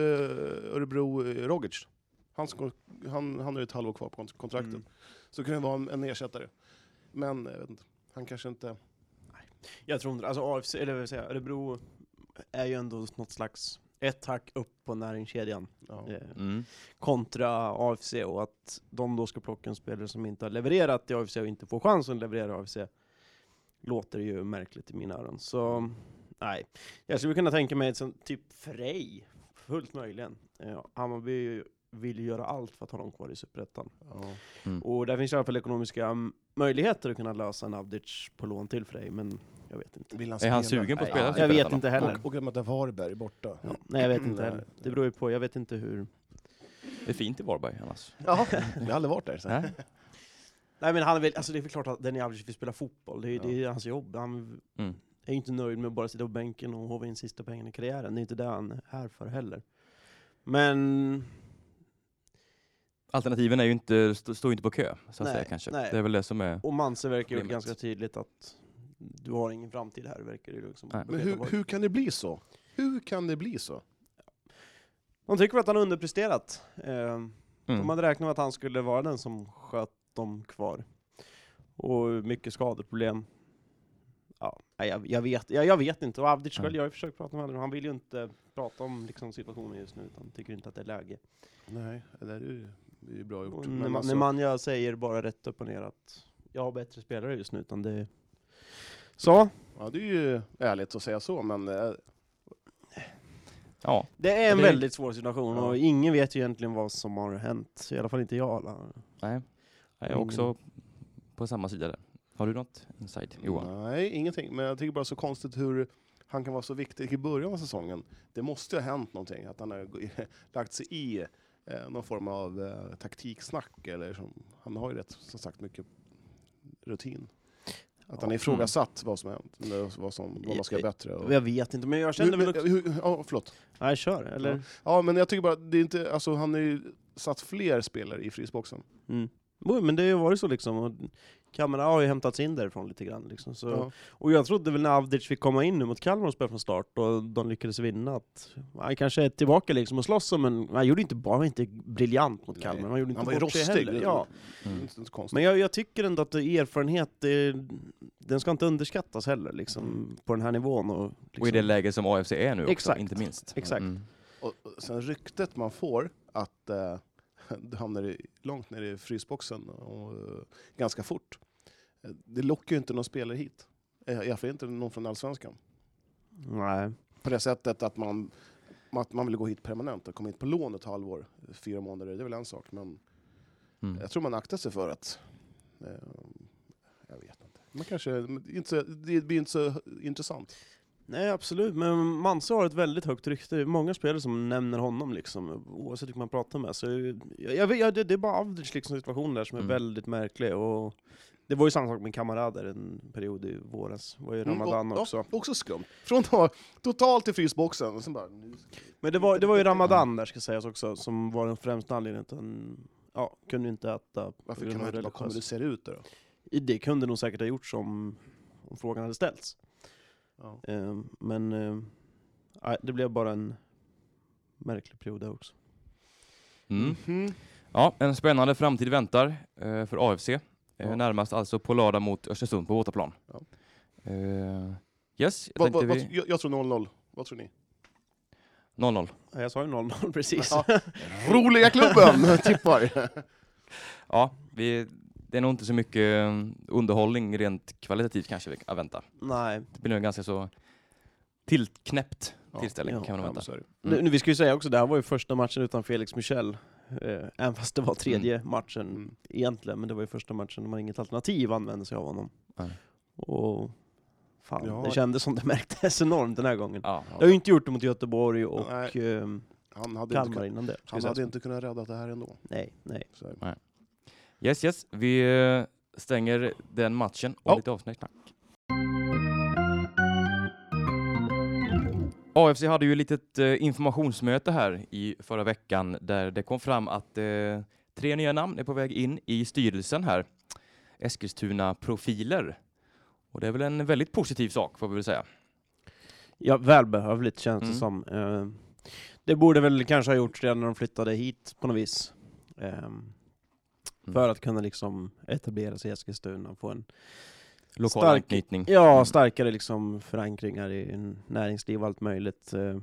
D: Örebro eh, Rogic. Han, ska, han, han har ju ett halvår kvar på kont- kontraktet.
E: Mm.
D: Så kan det vara en, en ersättare. Men eh, jag vet inte, han kanske inte...
E: Jag tror inte alltså AFC, eller vad vill säga, Örebro är ju ändå något slags ett hack upp på näringskedjan
D: Ja.
E: eh,
B: Mm.
E: kontra AFC och att de då ska plocka en spelare som inte har levererat i AFC och inte får chansen att leverera i AFC låter ju märkligt i mina öron. Så nej, jag skulle kunna tänka mig ett sånt typ Frej, fullt möjligen. Eh, Hammarby vill ju göra allt för att ha dem kvar i Superettan.
D: Ja.
E: Och där finns i alla fall ekonomiska mm, möjligheter att kunna lösa en Avdic på lån till Frej, men jag vet inte.
D: Vill
B: Är han
D: spela?
B: sugen på att
D: Nej,
B: spela?
D: ja,
E: Jag
B: Superettan
E: vet
B: då?
E: inte heller.
D: Och, och att möta Varberg borta. [LAUGHS]
E: Ja, nej, jag vet inte
D: Nej.
E: heller. Det beror ju på. Jag vet inte hur...
B: Det är fint i Varberg annars.
D: Ja, vi har aldrig varit där. Så. här.
B: Nej?
E: Nej, men han vill, alltså det är väl klart att Denny Avdic vill spela fotboll. Det är, ju- det är hans jobb. Han
B: Mm.
E: är ju inte nöjd med att bara sitta på bänken och håva in sista pengarna i karriären. Det är inte det han är här för heller. Men...
B: Alternativen är ju inte, st- står ju inte på kö, så att
E: Nej,
B: säga kanske.
E: nej.
B: Det är väl det som är...
E: Och Manse verkar ju
B: Problemet.
E: ganska tydligt att du har ingen framtid här, verkar det ju liksom.
B: Nej.
D: Men hur, hur kan det bli så? Hur kan det bli så?
E: De tycker väl att han har underpresterat. Eh,
B: Mm.
E: De hade räknat med att han skulle vara den som sköt dem kvar. Och mycket skadeproblem. Ja, nej, jag, jag, vet, jag, jag vet inte. Och Avdic själv, jag har ju försökt prata med honom, han vill ju inte prata om liksom, situationen just nu, utan tycker inte att det är läge.
D: Nej, det där är ju, det är ju bra gjort.
E: Och
D: Men
E: när, man,
D: alltså-
E: när man jag säger bara rätt upp och ner att jag har bättre spelare just nu, utan det... Så,
D: Ja, det är ju ärligt att säga så, men eh,
B: Ja,
E: det är en
B: Det-
E: väldigt svår situation
D: Ja.
E: och ingen vet ju egentligen vad som har hänt. I alla fall inte jag. Alla.
B: nej. Jag är
E: Mm.
B: också på samma sida där. Har du något inside, Johan?
D: nej, ingenting. Men jag tycker bara så konstigt hur han kan vara så viktig i början av säsongen. Det måste ju ha hänt någonting, att han har g- [LAUGHS] lagt sig i eh, någon form av eh, taktiksnack. Eller som, han har ju rätt, som sagt, mycket rutin. Att han
E: Ja.
D: ifrågasatt vad som hänt, eller vad, som, vad man ska göra bättre. Och...
E: Jag vet inte, men jag känner väl också...
D: hur, ja, förlåt.
E: Nej, kör. Eller?
D: Ja, men jag tycker bara, det är inte, alltså, han har ju satt fler spelare i frisboxen.
E: Mm. Jo, Men det har ju varit så liksom. Och Kamera har ju hämtats in därifrån lite grann. Liksom, så.
D: Ja.
E: Och jag trodde väl när Avdic fick komma in nu mot Kalmar och spela från start och de lyckades vinna att han kanske är tillbaka liksom och slåss som en... Han gjorde inte bara, han var inte briljant mot
D: Nej.
E: Kalmar, han gjorde inte
D: Han var ju
E: bort sig
D: rostig.
E: heller. Ja.
D: Det är
B: Mm.
D: inte så konstigt.
E: Men jag, jag tycker ändå att erfarenhet, det, den ska inte underskattas heller
D: Mm.
E: liksom, på den här nivån. Och, liksom.
B: Och i det läge som AFC är nu också,
E: Exakt.
B: inte minst.
E: Exakt.
B: Mm.
D: Och, och sen ryktet man får att eh, [LAUGHS] du hamnar i, långt ner i frysboxen och, eh, ganska fort. Eh, Det lockar ju inte någon spelare hit. Eh, I alla fall inte någon från Allsvenskan.
E: liksom- Nej.
D: På det sättet att man, att man vill gå hit permanent och komma hit på lån ett halvår, fyra månader, det är väl en sak. Men
B: Mm.
D: jag tror man aktar sig för att... Eh, jag vet inte. Man kanske, men det är inte så, det blir inte så intressant.
E: Nej absolut, men Manse har ett väldigt högt rykte. Det är Många spelare som nämner honom liksom, oavsett vilka man pratar med. Så jag, jag, vet- jag, det, det är bara Avdic liksom, situation där som är
B: Mm.
E: väldigt märklig. Och det var ju samma sak med Kamara där en period i våras. Det var ju Ramadan
D: Mm, och-
E: också.
D: Ja, också skumt. Från då, totalt i frysboxen, och sen bara... Nu
E: Men det var, det var
D: Mm.
E: ju Ramadan där ska sägas också, som var den främsta anledningen till att han ja, kunde inte äta. på
D: Varför
E: grund
D: kan
E: av
D: man inte bara komma
E: religiös-
D: du ser ut då?
E: Det kunde nog säkert ha gjorts om, om frågan hade ställts.
D: Ja.
E: Ehm, men ehm, nej, det blev bara en märklig period där också.
B: Mm. Ja, en spännande framtid väntar eh, för AFC. Eh,
D: Ja.
B: Närmast alltså på lördag mot Östersund på Våtaplan.
D: Ja.
B: Eh, yes, jag
D: Vad-
B: tänkte
D: vad- vad-
B: vi...
D: jag, jag tror 0-0. Vad tror ni?
B: 0-0.
E: Ja, jag sa ju 0-0 precis.
D: Ja.
E: [LAUGHS]
D: Roliga klubben tippar.
B: Ja, vi, det är nog inte så mycket eh, underhållning rent kvalitativt kanske vi kan vänta.
E: Nej,
B: Det blir nog en ganska så tillknäppt
D: Ja,
B: tillställning
E: ja,
B: kan man nog vänta.
E: nu, nu, vi ska ju säga också, det här var ju första matchen utan Felix Michel. Eh, även fast det var tredje matchen
D: Mm.
E: egentligen, men det var ju första matchen när man inget alternativ använde sig av honom.
B: Nej.
E: Och fan,
D: Ja.
E: det kändes som det märktes enormt den här gången.
B: Ja.
E: Det har ju inte gjort det mot Göteborg och
D: Nej.
E: ehm,
D: Han hade, inte,
E: Kalmar
D: kun-
E: innan det. ska
D: han hade
E: sägas.
D: inte kunnat rädda det här ändå.
E: Nej, nej.
D: Så här.
B: Yes, yes. Vi eh, stänger den matchen och
D: Ja.
B: lite avsnack. AFC hade ju ett litet eh, informationsmöte här i förra veckan där det kom fram att eh, tre nya namn är på väg in i styrelsen här. Eskilstuna-profiler. Och det är väl en väldigt positiv sak får vi väl säga.
E: Ja, välbehövligt känns
B: Mm.
E: det som. Eh, Det borde väl kanske ha gjorts redan när de flyttade hit på något vis. Eh,
B: Mm.
E: För att kunna liksom etablera sig i Eskilstuna och få en
B: Lokal
E: stark-
B: anknytning. Mm.
E: ja, starkare liksom förankringar i en näringsliv och allt möjligt. eh.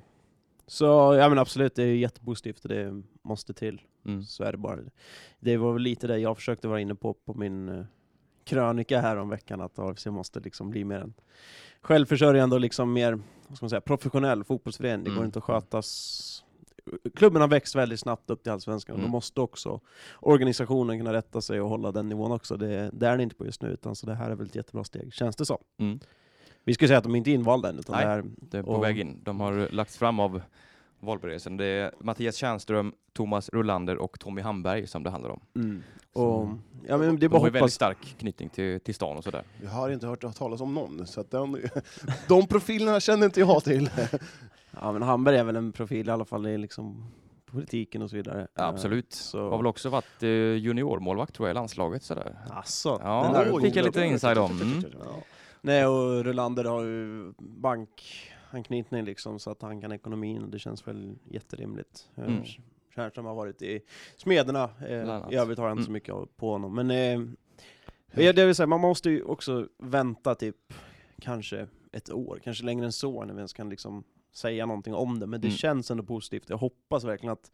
E: Så ja men absolut, det är jättepositivt och det måste till.
B: Mm.
E: Så är det bara. Det var väl lite det jag försökte vara inne på på min eh, krönika här om veckan att AFC måste liksom bli mer en självförsörjande och liksom mer vad ska man säga, professionell fotbollsförening. Det går
B: Mm.
E: inte att skötas Klubben har växt väldigt snabbt upp till Allsvenskan och
B: Mm.
E: då måste också organisationen kunna rätta sig och hålla den nivån också. Det, det är den inte på just nu, utan så det här är väl ett jättebra steg, känns det som.
B: Mm.
E: Vi ska säga att de inte är invalda än, utan
B: Nej.
E: det här
B: Det är på
E: Och-
B: väg in. De har lagts fram av valberedelsen. Det är Mattias Tjärnström, Thomas Rolander och Tommy Hamberg som det handlar om.
E: mm. och,
B: Så-
E: ja, men det är
B: De
E: bara
B: har ju
E: att
B: väldigt
E: hoppas.
B: stark knytning till, till stan och sådär.
D: Jag har inte hört talas om någon, så att den, [LAUGHS] de profilerna känner inte jag till.
E: Ja, men Hamberg är väl en profil i alla fall i liksom politiken och så vidare. Eh,
B: Ja, absolut.
E: så-
B: Har väl också varit eh, juniormålvakt tror jag i landslaget sådär.
E: Alltså,
B: Ja,
E: den där
B: oj. fick jag lite inside om. Mm.
E: Ja. Nej, och Rolander har ju bankanknytning liksom, så att han kan ekonomin och det känns väl jätterimligt. Eh,
B: Mm.
E: Tjärnström har varit i Smederna, eh,
B: annat.
E: i övrigt har jag inte så
B: Mm.
E: mycket på honom. Men eh, ja, det vill säga, man måste ju också vänta typ kanske ett år, kanske längre än så, när vi ens kan liksom säga någonting om det. Men det
B: Mm.
E: känns ändå positivt. Jag hoppas verkligen att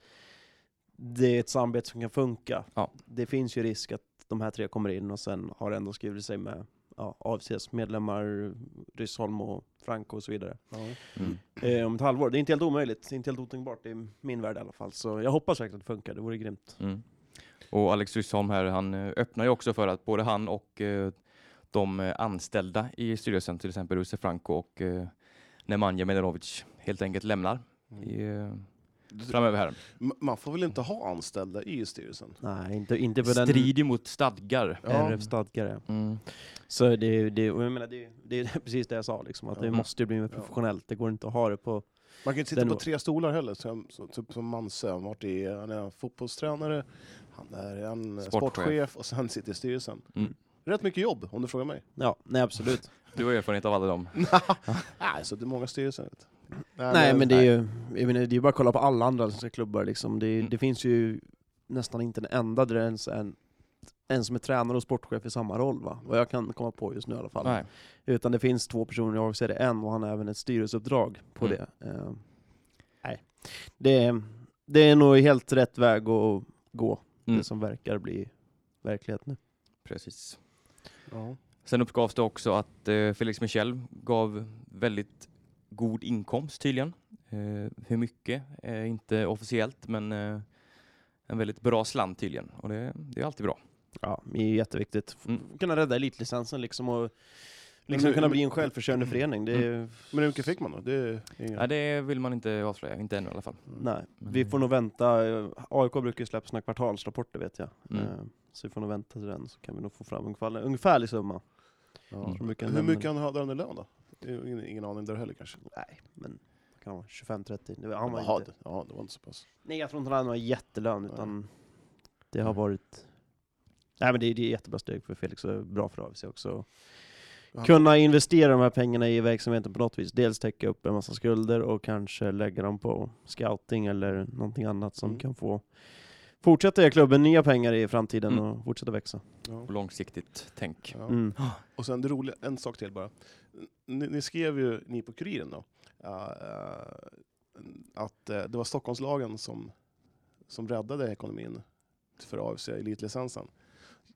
E: det är ett samarbete som kan funka.
B: Ja.
E: Det finns ju risk att de här tre kommer in och sen har ändå skrivit sig med ja, AFCs medlemmar, Ryssholm och Franco och så vidare.
B: Mm.
E: Eh, om ett halvår. Det är inte helt omöjligt, det är inte helt otänkbart i min värld i alla fall. Så jag hoppas verkligen att det funkar, det vore grymt.
B: Mm. Och Alex Ryssholm här, han eh, öppnar ju också för att både han och eh, de eh, anställda i styrelsen, till exempel Ruse Franco och eh, Nemanja Medanovic, helt enkelt lämnar i, eh,
E: Mm.
B: framöver här.
D: M- Man får väl inte ha anställda i styrelsen?
E: Nej, inte, inte på den...
B: Strider mot stadgar.
D: Ja.
E: RF-stadgare.
B: Mm.
E: Så det, är- det, är- och jag menar, det, är- det är [LAUGHS] precis det jag sa, liksom, att det
B: Mm.
E: måste ju bli mer
D: Ja.
E: professionellt. Det går inte att ha det på...
D: Man kan ju inte sitta
E: Den
D: på
E: var-
D: tre stolar heller, som, så, typ som Manse. Han, har varit i- han är en fotbollstränare, han är en sportchef,
B: Sportchef.
D: och sen sitter i styrelsen.
B: Mm.
D: Rätt mycket jobb om du frågar mig.
E: Ja, nej absolut.
B: Du har erfarenhet av alla dem.
E: Mm.
D: Nej, så det är många styrelser. vet du.
E: nej men det är ju jag menar, det är ju bara att kolla på alla andra svenska klubbar liksom. det,
B: Mm.
E: det finns ju nästan inte en enda där det ens är en, en som är tränare och sportchef i samma roll va? Vad jag kan komma på just nu i alla fall.
B: Nej.
E: Utan det finns två personer, jag ser det en och han har även ett styrelseuppdrag på
B: Mm.
E: det. Eh, nej. Det, det är nog helt rätt väg att gå,
B: Mm.
E: det som verkar bli verklighet nu.
B: Precis.
D: Ja.
B: Sen uppgavs det också att eh, Felix Michel gav väldigt god inkomst tydligen. Eh, hur mycket? Eh, inte officiellt, men eh, en väldigt bra slant tydligen. Och det, det är alltid bra.
E: Ja, det är jätteviktigt. F-
B: Mm.
E: Kunna rädda elitlicensen liksom och liksom
D: Men-
E: kunna
D: men-
E: bli en
B: mm.
E: självförsörjande förening. Det är,
D: Men hur mycket fick man då? Det är inga...
B: Ja, det vill man inte avslöja, inte ännu i alla fall.
E: Nej,
B: Men-
E: vi får nog vänta. Eh, AIK brukar ju släppa sina kvartalsrapporter vet jag.
B: Mm.
E: Eh, Så vi får nog vänta till den så kan vi nog få fram ungefär, ungefärlig summa.
D: Ja.
E: Som brukar
D: Hur
E: nämna
D: mycket
E: det.
D: han hade han i lön då? Det är Ingen, ingen aning där heller kanske.
E: Nej, men det kan vara 25-30. Det var- Han var
D: Jaha,
E: inte,
D: det- ja, det var inte så pass.
E: nej, jag tror inte han hade någon jättelön utan det har
D: Mm.
E: varit... Nej men det, är- det är jättebra steg för Felix och bra för AFC också.
D: Ja.
E: Kunna investera de här pengarna i verksamheten på något vis. Dels täcka upp en massa skulder och kanske lägga dem på scouting eller någonting annat som
D: Mm.
E: kan få fortsätta ge klubben nya pengar i framtiden
B: Mm.
E: och fortsätta växa.
D: Ja.
B: Och långsiktigt tänk.
D: Ja.
E: Mm.
D: Och sen det roliga, en sak till bara. Ni, ni skrev ju, ni på Kuriren då, eh, eh, att eh, det var Stockholmslagen som, som räddade ekonomin för AFC elitlicensen.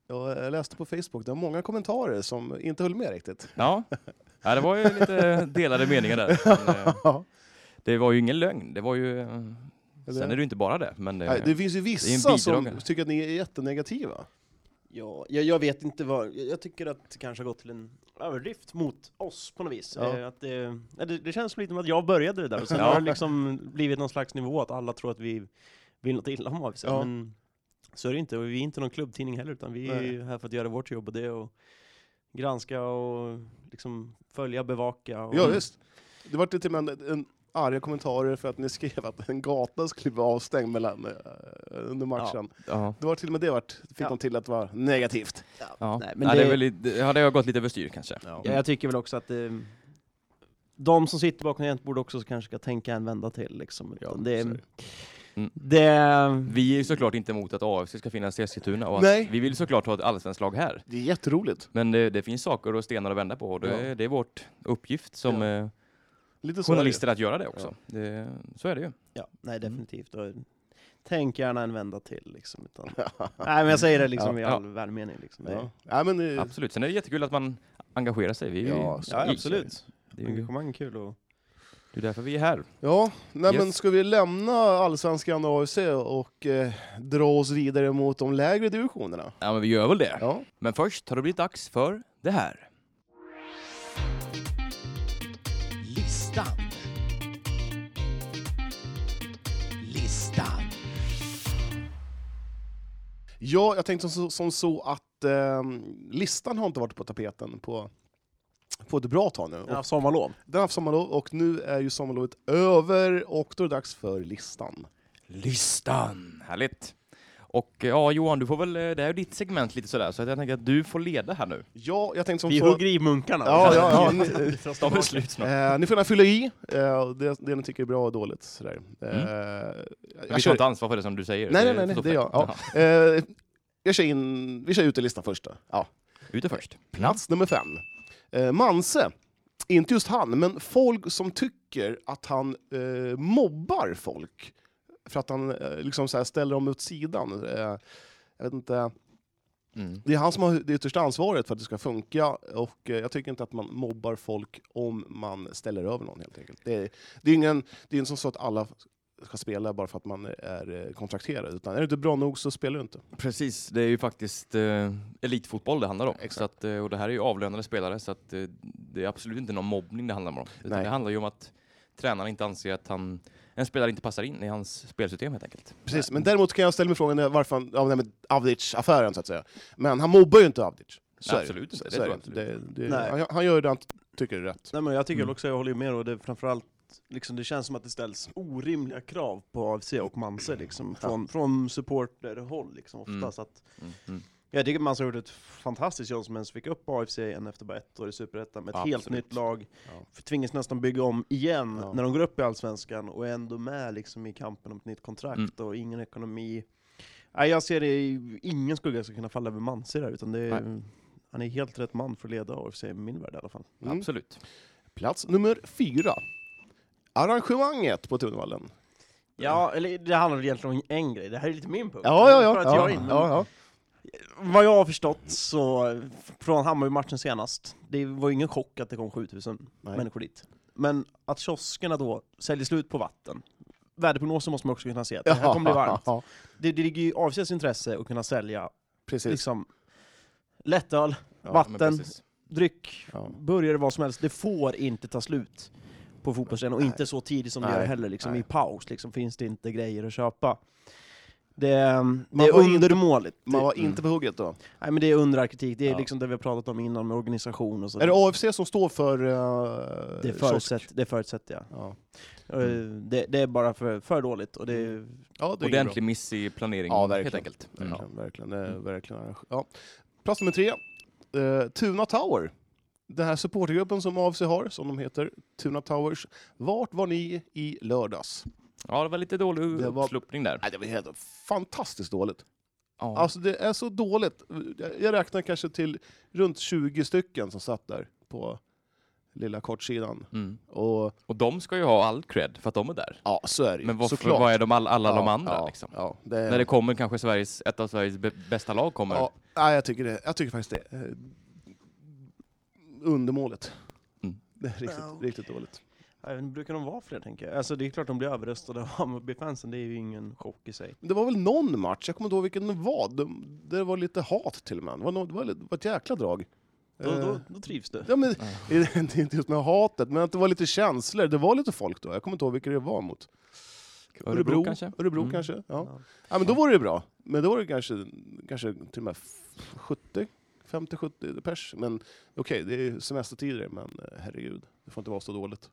D: Jag eh, läste på Facebook, det var många kommentarer som inte höll med
B: [LAUGHS]
D: riktigt.
B: Ja. ja, det var ju lite delade meningar där. Men, eh,
D: Ja.
B: det var ju ingen lögn. Det var ju... eh,
D: Eller?
B: Sen är det ju inte bara det, men eh,
D: Nej,
B: det,
D: det finns ju vissa som
B: bidragare.
D: tycker att ni är jättenegativa.
E: Ja, jag, jag vet inte vad, jag, jag tycker att det kanske har gått till en överdrift mot oss på något vis.
D: Ja.
E: Eh, att det, ja, det, det känns lite som att jag började det där och sen
B: Ja.
E: har det liksom blivit någon slags nivå att alla tror att vi vill något illa om AFC.
D: Ja.
E: Men så är det inte, och vi är inte någon klubbtidning heller utan vi är
D: Nej.
E: ju här för att göra vårt jobb och det är att granska och liksom följa, bevaka. Och,
B: Mm.
D: Ja, visst. Det var till och med en, en arga kommentarer för att ni skrev att en gata skulle vara avstängd mellan, eh, under matchen.
B: ja.
D: Det var till och med det vart, fick
E: Ja.
D: de till att vara negativt.
B: Ja.
E: Nej,
B: men
E: men
B: ja, det...
E: det-
B: är väl li- det hade jag gått lite överstyr kanske.
E: Ja, jag tycker väl också att eh, de som sitter bakom borde också kanske ska tänka en vända till. Liksom.
D: Ja,
E: Utan det,
D: så är det.
B: Mm.
E: det,
B: Vi är ju såklart inte emot att AFC ska finnas i Eskilstuna och att
D: Nej.
B: vi vill såklart ha ett allsvenskt lag här.
D: Det är jätteroligt.
B: Men det, det finns saker och stenar att vända på och det,
D: Ja.
B: det är vårt uppgift som
D: Ja.
B: eh,
D: Lite så är det.
B: journalister att göra det också. Det, så är det ju.
E: Ja, nej
B: Mm.
E: definitivt. Och tänk gärna en vända till
B: [LAUGHS]
E: liksom. Utan... nej men jag säger det liksom
B: Ja,
E: i all välmening. Liksom. Det-
D: Ja. Ja, men, eh,
B: Absolut. Sen är det jättekul att man engagerar sig. Vi, är ju-
D: Ja, så-
E: ja
B: i-
E: absolut.
B: Det är ju
E: Engagemang är kul och...
B: det är därför vi är här.
D: ja. Nej, men
B: Yes.
D: ska vi lämna allsvenskan och AFC och eh, dra oss vidare mot de lägre divisionerna?
B: Ja, men vi gör väl det.
D: Ja.
B: Men först har det blivit dags för det här.
F: Listan. Listan.
D: ja, jag tänkte som, som så att eh, listan har inte varit på tapeten på, på ett bra tag nu.
E: Ja, sommarlov.
D: Den har haft sommarlov och nu är ju sommarlovet över och då är det dags för listan.
B: Listan! Härligt. Och eh, ja, Johan, du får väl, eh, det här är ju ditt segment lite sådär, så att jag tänker att du får leda här nu.
D: Ja, jag tänkte som
E: Vi
D: så...
E: hugger i munkarna.
B: [LAUGHS]
D: Ja, ja, ja.
E: Vi drar oss
B: De är
E: tillbaka.
B: slut snart.
D: Eh, ni får gärna fylla i eh, det, det ni tycker är bra och dåligt. Sådär. Eh,
B: Mm.
D: jag,
B: Vi tar
D: kör,
B: inte ansvar för det som du säger.
D: Nej, nej, nej, nej,
B: så
D: det
B: fel.
D: gör jag. Ja.
B: Jaha.
D: eh, jag kör in, vi kör ut i listan först. Då. Ja.
B: Ute först.
D: Plats nummer fem. Eh, Manse inte just han, men folk som tycker att han eh, mobbar folk för att han eh, liksom så här ställer dem åt sidan. Eh, jag vet inte.
B: Mm.
D: Det är han som har det yttersta ansvaret för att det ska funka och eh, jag tycker inte att man mobbar folk om man ställer över någon helt enkelt. Det är, det är ingen det är inte som så att alla ska spela bara för att man är eh, kontrakterad, utan är du inte bra nog så spelar du inte.
B: Precis, det är ju faktiskt eh, elitfotboll det handlar om.
D: Exakt.
B: Så att, eh, och det här är ju avlönade spelare så att, eh, det är absolut inte någon mobbning det handlar om. Utan
D: Nej.
B: Det handlar ju om att tränaren inte anser att han, en spelare inte passar in i hans spelsystem helt enkelt.
D: Precis, men däremot kan jag ställa mig frågan eh, varför han, ja, nej, men Avdic-affären så att säga. Men han mobbar ju inte Avdic. Så är det.
B: Absolut inte, det
D: Så är
B: tror jag
D: Det, det,
E: Nej.
D: han, han gör ju det han t- tycker är rätt.
E: Nej men jag tycker
B: Mm.
E: också, jag håller ju med och det är framförallt Liksom det känns som att det ställs orimliga krav på AFC och Manse liksom, från, från supporterhåll liksom,
B: Mm.
E: oftast. Att,
B: Mm. Mm.
E: jag tycker Manse har gjort ett fantastiskt jobb som ens fick upp AFC igen efter bara ett år i Superettan med ett helt
B: Absolut.
E: nytt lag.
D: Ja.
E: Tvingas nästan bygga om igen
D: Ja.
E: när de går upp i Allsvenskan och är ändå med liksom, i kampen om ett nytt kontrakt
B: Mm.
E: och ingen ekonomi. Nej, jag ser det, i- ingen skugga ska kunna falla över Manse där, utan det är, han är helt rätt man för att leda AFC i min värld i alla fall.
D: Mm.
B: Absolut.
D: Plats nummer fyra. Arrangemanget på Tunnvallen.
E: Ja, eller det handlar väl egentligen om en grej, det här är lite min punkt.
D: Ja, ja, ja.
E: För att
D: ja,
E: jag är inne.
D: ja, ja.
E: Vad jag har förstått så, från Hammarby-matchen senast, det var ju ingen chock att det kom 7000
D: Nej.
E: människor dit. Men att kioskerna då säljer slut på vatten, väderprognosen måste man också kunna se, att det här kommer bli varmt.
D: [LAUGHS] Ja,
E: Det, det ligger ju i AFCs intresse att kunna sälja
D: precis.
E: liksom, lättöl,
D: Typ. Ja,
B: men
E: vatten,
B: precis.
E: dryck,
D: Ja.
E: burgare, vad som helst, det får inte ta slut på fotbollsarenan och inte så tidigt som det
D: Nej.
E: gör heller. Liksom,
D: Nej.
E: I paus liksom, finns det inte grejer att köpa. Det, det
D: Man
E: är
D: var inte-
E: undermåligt.
D: Man var
B: Mm.
D: inte på hugget då.
E: Nej, men det är underarkitektik, det är
D: Ja.
E: liksom det vi har pratat om innan med organisation och så.
D: Är det AFC som står för... eh,
E: det,
D: kiosk?
E: förutsätt, det förutsätter jag.
D: Ja,
E: Eh,
D: Mm.
E: Det, det är bara för, för dåligt och det är
D: ja det är inget
B: Ordentlig miss i planeringen
D: Ja, verkligen.
B: helt enkelt.
D: bra.
B: Ja.
D: Verkligen, verkligen. Det är
B: Mm.
D: verkligen arrange- ja. Plats nummer tre. Eh, Tuna Tower. Den här supportergruppen som AFC har, som de heter, Tuna Towers. Vart var ni i lördags?
B: ja, det var lite dålig
D: Det var-
B: uppsluppning där.
D: Nej, det var helt fantastiskt dåligt.
B: Ja.
D: Alltså det är så dåligt. Jag- Jag räknar kanske till runt 20 stycken som satt där på lilla kortsidan.
B: Mm.
D: Och
B: Och de ska ju ha all cred för att de är där.
D: ja, så är det ju,
B: Men varför,
D: såklart.
B: vad är de all, alla de
D: Ja,
B: andra
D: ja,
B: liksom?
D: Ja, det,
B: När det kommer kanske Sveriges, ett av Sveriges b- bästa lag kommer.
D: ja, nej, jag, tycker det, jag tycker faktiskt det. Eh, Undermålet.
B: Mm.
D: Det är riktigt, riktigt dåligt.
E: jag vet inte, brukar de vara fler tänker jag? Alltså det är klart de blir överröstade av Hammarby-fansen, det är ju ingen chock i sig.
D: Men Det var väl någon match, jag kommer inte ihåg vilken det var. De- Det var lite hat till och med. Det var, nå- det var, det var ett jäkla drag.
E: Då,
D: Eh,
E: då, då trivs du.
D: Ja, men, det är [LAUGHS] inte just med hatet, men att det var lite känslor. Det var lite folk då. Jag kommer inte ihåg vilka det var mot.
B: Örebro kanske?
D: Örebro
B: Mm.
D: kanske. Ja.
E: Ja.
D: ja, men då var det bra. Men då var det kanske, kanske till och med f- 70, 50-70 pers. Men okej, det är ju semestertider, men eh, herregud, det får inte vara så dåligt.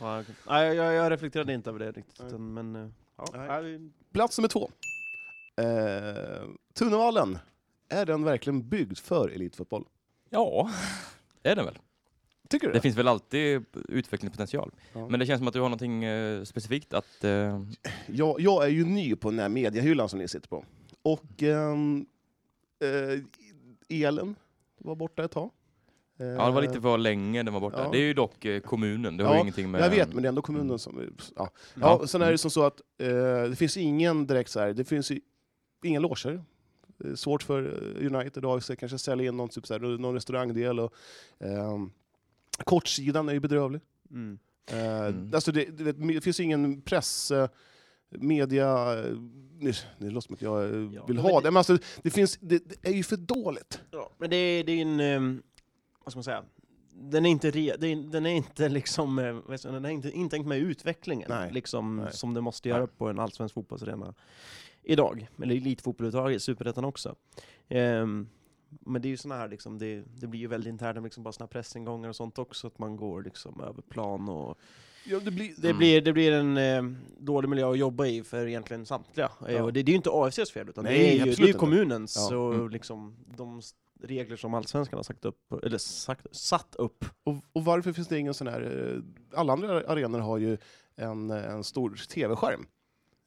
E: Ja, okej. Nej, jag, jag reflekterade inte över det riktigt,
D: Nej.
E: utan, men eh, ja,
D: Nej.
E: nej, vi-
D: Plats nummer två. Eh, Tunavallen. Är den verkligen byggd för elitfotboll?
B: Ja, [LAUGHS] det är den väl.
D: Tycker du
B: Det finns väl alltid utvecklingspotential.
D: Ja.
B: Men det känns som att du har någonting eh, specifikt att... Eh,
D: jag, jag är ju ny på den här mediehyllan som ni sitter på. Och ehm, eh, elen var borta ett tag. Eh,
B: ja, det var lite för länge den var borta.
D: ja.
B: Det är ju dock eh, kommunen, det har
D: Ja,
B: ju ingenting med...
D: Jag vet, men det är ändå kommunen som... Ja. Ja,
B: Ja. Mm.
D: Sen är det som så att eh, det finns ingen direkt så här, det finns ju inga loger. Det är svårt för eh, United och AFC kanske sälja in någon, typ så här, någon restaurangdel. Och, ehm, kortsidan är ju bedrövlig.
E: mm.
D: Eh,
B: Mm.
D: Alltså det, du vet, det finns ju ingen press, eh, media... eh, Nu, nu låter det som att jag eh,
E: Ja,
D: vill
E: men
D: ha
E: det-
D: det, men alltså, det, finns, det, det är ju för dåligt.
E: Ja, men det är, det är en, ehm, vad ska man säga, den är inte, re, det är, den är inte liksom, eh, vad ska jag säga, den är inte intänkt med utvecklingen
D: Nej,
E: Liksom,
D: nej.
E: som det måste göra på en allsvensk fotbollsarena idag. Eller elitfotboll överhuvudtaget, superettan också. Ehm, men det är ju såna här, liksom, det, det blir ju väldigt internt, liksom bara såna här pressingångar och sånt också, att man går liksom över plan och...
D: Ja, det blir,
E: Det, blir, det blir en eh, dålig miljö att jobba i för egentligen samtliga. Eh,
D: Ja.
E: Och det, det är ju inte AFCs fel, utan
D: Nej,
E: det är ju
D: absolut
E: det är ju
D: inte.
E: kommunens
D: Ja.
E: och
B: Mm.
E: liksom de s- regler som allsvenskan har sagt upp, eller sagt, satt upp.
D: och, och varför finns det ingen sån här... eh, Alla andra arenor har ju en, eh, en stor tv-skärm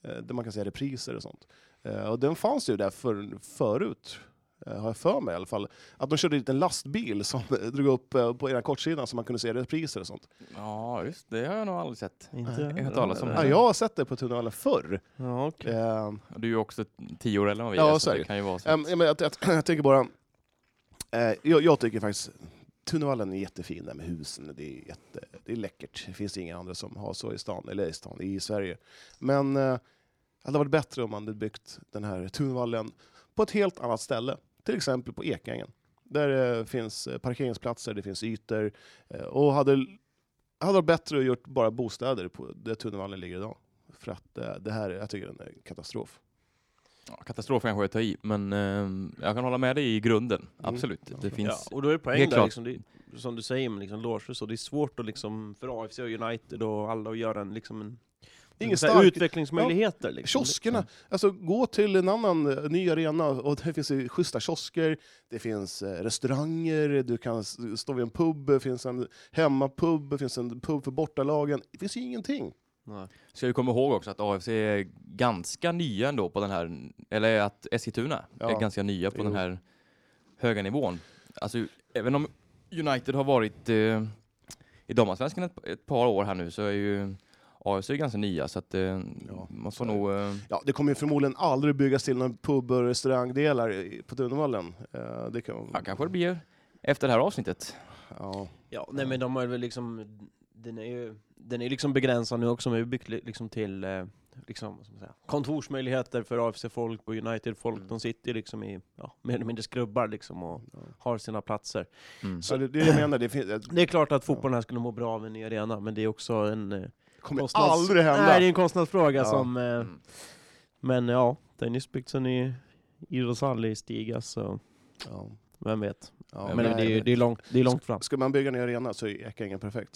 D: eh, där man kan se repriser och sånt. Eh, Och den fanns ju där för, förut. Eh, eh, har jag för mig i alla fall. Att de körde dit en lastbil som [LAUGHS] drog upp eh, på ena kortsidan så man kunde se repriser och sånt.
B: Ja, just det. Det har jag nog aldrig sett.
E: Inte
B: Jag har hört talas om
D: Ja,
B: det.
D: jag har sett det på tunnelen förr.
E: Ja, okej.
D: Eh,
B: Du är ju också tio år äldre än vad vi
D: Ja,
B: är,
D: så är
B: så det
D: det.
B: kan ju vara så.
D: Ehm, ja, men jag, jag, jag tycker bara... eh, jag, jag tycker faktiskt Tunnelvallen är jättefin där med husen. Det är, jätte, det är läckert. Det finns inga andra som har så i stan, eller i stan, i Sverige. Men eh, det hade varit bättre om man hade byggt den här Tunnelvallen på ett helt annat ställe. Till exempel på Ekängen. Där eh, finns eh, parkeringsplatser, det finns ytor. Eh, och hade, hade varit bättre att gjort bara bostäder på där Tunnelvallen ligger idag. För att eh, det här, är- jag tycker den är en katastrof.
B: Ja, katastrof kanske jag tar i, men eh, jag kan hålla med dig i grunden.
D: Mm.
B: Absolut. Det finns...
E: Ja, och då är det poäng
B: Helt
E: där,
B: klart.
E: liksom, det, är- som du säger med liksom, Lorge och så, det är svårt att liksom, för AFC och United och alla att göra en, liksom, en
D: Ingen
E: så här
D: stark-
E: utvecklingsmöjligheter. Liksom.
D: Kioskerna! Alltså gå till en annan eh, ny arena och det finns ju schyssta kiosker, det finns eh, restauranger, du kan s- stå vid en pub, det finns en hemmapub, det finns en pub för bortalagen. Det finns ju ingenting.
E: Nej.
B: Ska vi komma ihåg också att AFC är ganska nya ändå på den här, eller att Eskilstuna
D: Ja.
B: är ganska nya på
D: Jo.
B: den här höga nivån. Alltså, även om United har varit eh, i damallsvenskan ett, ett par år här nu så är ju AFC ganska nya så att eh, man får
D: så är
B: nog... Eh,
D: Ja, det kommer ju förmodligen aldrig byggas till någon pub och restaurangdelar i- på Tunavallen. Eh, Det kan...
B: ja, kanske det blir efter det här avsnittet.
D: Ja.
E: Ja, nej men de har väl liksom, den är ju den är liksom begränsad nu också, men vi har byggt li- liksom till eh, liksom, vad ska man säga, kontorsmöjligheter för AFC-folk och United-folk. De sitter ju liksom i, ja, mer eller mindre skrubbar liksom och har sina platser.
B: Mm.
D: Så det, det är det jag menar, det, finns, det
E: Det är klart att fotbollen här skulle må bra av en ny arena, men det är också en eh,
D: kommer
E: kostnads-
D: aldrig hända.
E: Nej, det är en kostnadsfråga
D: Ja.
E: som... Eh,
B: Mm.
E: men ja, det är nyss byggt en ny idrottshall i Stiga, så
D: Ja.
E: vem vet.
D: Ja,
E: men det är, ju-
D: nej.
E: det, är långt, det är långt fram.
D: Ska man bygga en ny arena så är Ekängen perfekt.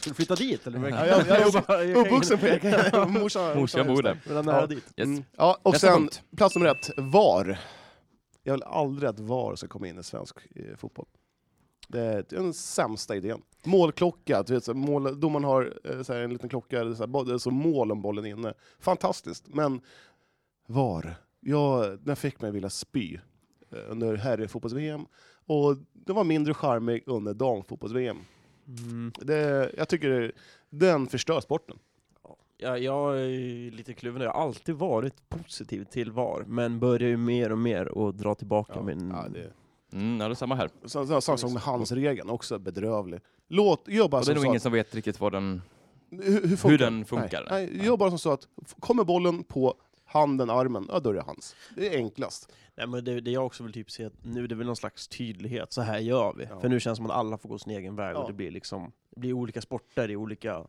E: Ska du flytta dit eller?
D: Ja, jag- jag är [LAUGHS]
E: [LAUGHS]
D: Uppvuxen på [LAUGHS] Ekängen.
B: Mm. Morsan bor där.
E: Mellan nära
D: Ja.
E: dit.
B: Yes.
D: Mm. Ja, och
B: Nästa
D: sen
B: punkt.
D: plats nummer ett, VAR. Jag vill aldrig att VAR ska komma in i svensk eh, fotboll. Det är den sämsta idén. Målklocka, du vet, så här, mål, domaren har eh, så här, en liten klocka, det är så, här, bo- det är så mål om bollen är inne. Fantastiskt, men VAR. Jag, den fick mig vilja spy eh, under herrfotbolls-VM och den var mindre charmig under damfotbolls-VM.
E: Mm.
D: Det- Jag tycker den förstör sporten.
E: Ja, jag är lite kluven, jag har alltid varit positiv till VAR, men börjar ju mer och mer och dra tillbaka min...
D: Ja, det,
B: Mm, ja, det är samma här.
D: Så- så- Samma sak med handsregeln, också bedrövlig. Låt, gör bara
B: Och det är
D: som
B: nog
D: Alltså, så
B: ingen
D: att,
B: som vet riktigt vad den...
D: hur, hur, funkar?
B: den funkar.
D: Nej, nej, gör bara som så att f- kommer bollen på handen, armen, ja då är det hans. Det är enklast.
E: Nej, men det, det jag också vill typ se, att nu det är väl någon slags tydlighet, så här gör vi.
D: Ja.
E: För nu känns det som att alla får gå sin egen väg
D: Ja.
E: och det blir liksom, det blir olika sporter i olika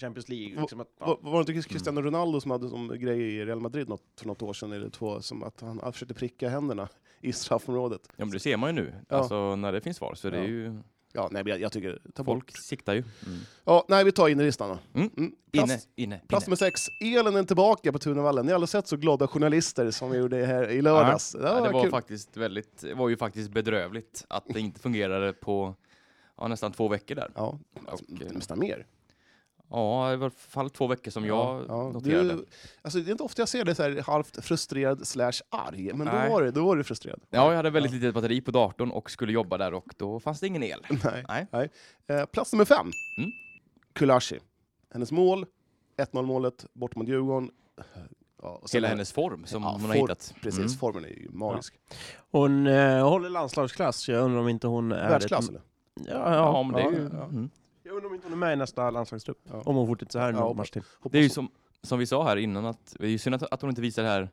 E: Champions League.
D: Va-
E: Liksom att, ja.
D: Var, var det inte
B: Mm.
D: Cristiano Ronaldo som hade som grej i Real Madrid något, för något år sedan eller två, som att han han försökte pricka händerna i straffområdet?
B: Ja, men det ser man ju nu.
D: Ja.
B: Alltså när det finns VAR så det är
D: Ja.
B: ju...
D: Ja, nej, men jag, jag tycker, ta bort.
B: Folk siktar ju. Mm.
D: Ja, nej, vi tar in i listan då.
B: Mm.
D: Plats,
B: Inne, inne,
D: plats
B: inne.
D: nummer sex, elen är tillbaka på Tunavallen. Ni har aldrig sett så glada journalister som vi gjorde här i lördags.
B: Ja, det var
D: kul.
B: faktiskt väldigt, det var ju faktiskt bedrövligt att det inte fungerade på ja, nästan två veckor där.
D: Ja,
B: Och, eh,
D: nästan mer.
B: ja, det var i alla fall två veckor som jag noterade.
D: du, alltså, det är inte ofta jag ser dig så här halvt frustrerad slash arg, men då
B: Nej.
D: var, du, då var du frustrerad.
B: Ja, jag hade väldigt litet batteri på datorn och skulle jobba där och då fanns det ingen el.
D: Nej.
B: Nej.
D: Eh, plats nummer fem.
B: Mm.
D: Kulashi. Hennes mål, 1-0 målet bort mot Djurgården. Ja, och sen-
B: Hela hennes form som
D: Ja,
B: hon har
D: form,
B: hittat.
D: Precis,
B: Mm.
D: formen är ju magisk.
E: Hon eh, håller landslagsklass, så jag undrar om inte hon är...
D: Världsklass
E: Ett,
D: eller?
E: ja,
B: Ja,
E: ja.
B: men det är ju,
D: ja, ja.
B: mm.
E: Jag undrar om inte hon är med i nästa landslagstrupp.
D: Ja.
E: Om hon fortsätter så här i några
D: Ja,
E: match till.
D: Hoppas
B: Det är ju
D: så.
B: som, som vi sa här innan, att det är ju synd att, att hon inte visar det här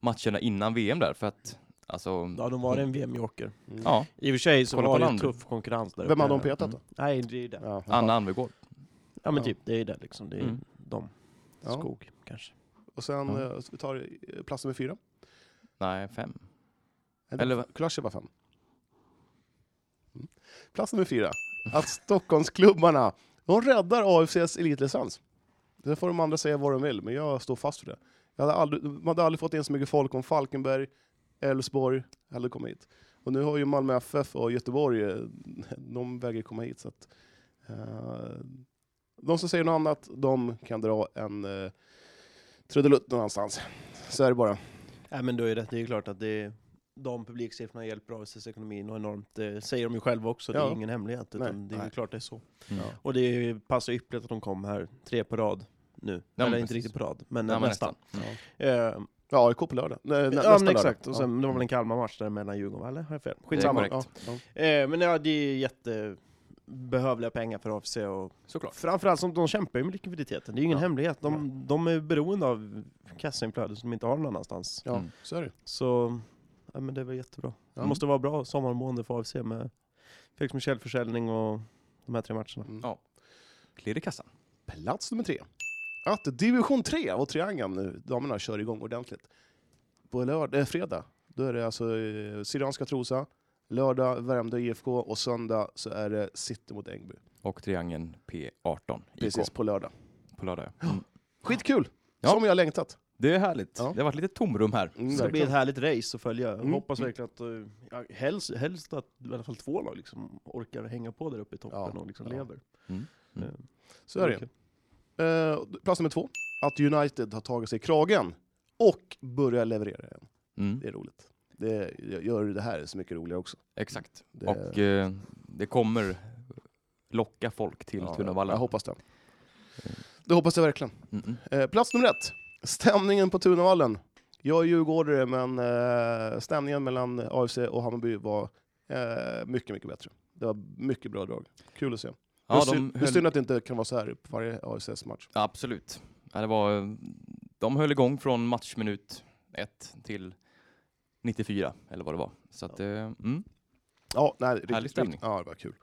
B: matcherna innan VM där för att alltså,
E: Ja, de var en VM-joker.
B: ja,
E: I och för sig så
B: Kolla på
E: var det ju
B: landet.
E: tuff konkurrens där
D: Mm. Vem
E: uppe.
D: hade de petat då?
E: Nej, det är ju det.
D: Ja,
B: Anna Alvegård.
E: Ja men
D: Ja.
E: typ, det är ju det liksom. Det är
B: Mm.
E: de.
D: Ja.
E: Skog kanske.
D: Och sen
B: Ja.
D: eh, så vi tar eh, plats nummer fyra.
B: Nej, fem. Eller
D: Eller
B: vad-
D: Kulasche var fem. Mm. Plats nummer fyra. Att Stockholmsklubbarna, de räddar AFCs elitlicens. Sen får de andra säga vad de vill, men jag står fast för det. Jag hade aldrig, man hade aldrig fått in så mycket folk om Falkenberg, Elfsborg hade kommit hit. Och nu har ju Malmö FF och Göteborg, eh, de vägrar komma hit. Så att, eh, de som säger något annat, de kan dra en eh, trudelutt någonstans. Så är det bara.
E: Nej men du är rätt, det är ju klart att det är, dampubliksiffrorna hjälper AFC-ekonomin och enormt. Det säger de ju själva också, det
D: Ja.
E: är ingen hemlighet. Utan
D: Nej.
E: det är ju
D: Nej.
E: klart det är så.
B: Mm.
D: Ja.
E: Och det passar ypperligt att de kom här, tre på rad nu.
B: men
E: Eller
B: precis.
E: inte riktigt på rad, men,
B: Ja, men
E: nästan.
B: nästan.
E: Eh,
D: Ja, AIK på lördag. Nej, nä,
E: ja
D: nästa
E: men
D: lördag.
E: exakt, och sen,
D: Ja.
E: det var väl en Kalmar-match där mellan Djurgården, va? eller? Har jag fel?
B: Det
E: Skitsamma.
B: är korrekt.
D: Ja,
E: Eh, men ja, det är jättebehövliga pengar för AFC och
B: Såklart.
E: framförallt som de kämpar ju med likviditeten, det är ju ingen
D: Ja.
E: hemlighet. De, de är beroende av kassainflöde som de inte har någon annanstans.
D: ja. ja
B: Mm.
D: så är det.
E: Så ja, men det är väl jättebra.
D: Ja.
E: Det måste vara bra sommarmående för AFC med Felix Michel-försäljning och de här tre matcherna.
D: Mm.
B: Ja. Klirr i kassan.
D: Plats nummer tre. Att division 3 och Triangeln nu, damerna kör igång ordentligt. På lördag, eh, fredag, då är det alltså eh, Syrianska Trosa, lördag Värmdö IFK och söndag så är det City mot Ängby.
B: Och triangeln P18
D: Precis,
B: IK
D: på lördag.
B: på lördag. ja. Mm.
D: Skitkul!
B: Ja.
D: Som jag längtat.
B: Det är härligt.
D: Ja.
B: Det har varit lite tomrum här.
D: Mm,
E: Det ska bli ett
D: verkligen.
E: härligt race att följa. Jag
D: Mm.
E: Hoppas verkligen att, eh, ja, helst, helst att i alla fall två lag liksom orkar hänga på där uppe i toppen
D: Ja.
E: och liksom
D: Ja.
E: lever.
B: Mm. Mm.
E: Eh,
D: så är det. Eh, plats nummer två. Att United har tagit sig i kragen och börjar leverera igen.
B: Mm.
D: Det är roligt. Det gör det här så mycket roligare också.
B: Exakt.
D: Det,
B: Och eh, det kommer locka folk till
D: ja,
B: Tunavalla.
D: Jag hoppas det. Det hoppas jag verkligen.
B: Mm, mm.
D: Eh, plats nummer ett. Stämningen på Tunavallen. Jag är djurgårdare, men eh, stämningen mellan AFC och Hammarby var eh, mycket, mycket bättre. Det var mycket bra drag. Kul att se.
B: Ja,
D: det, är
B: de
D: synd, det är
B: höll...
D: synd att det inte kan vara så här på varje AFCs match.
B: Ja, Absolut. Ja, det var, eh, de höll igång från matchminut 1 till 94, eller vad det var. Så att, eh, mm.
D: Ja, nej, riktigt,
B: Härlig stämning.
D: riktigt- Ja, det var kul.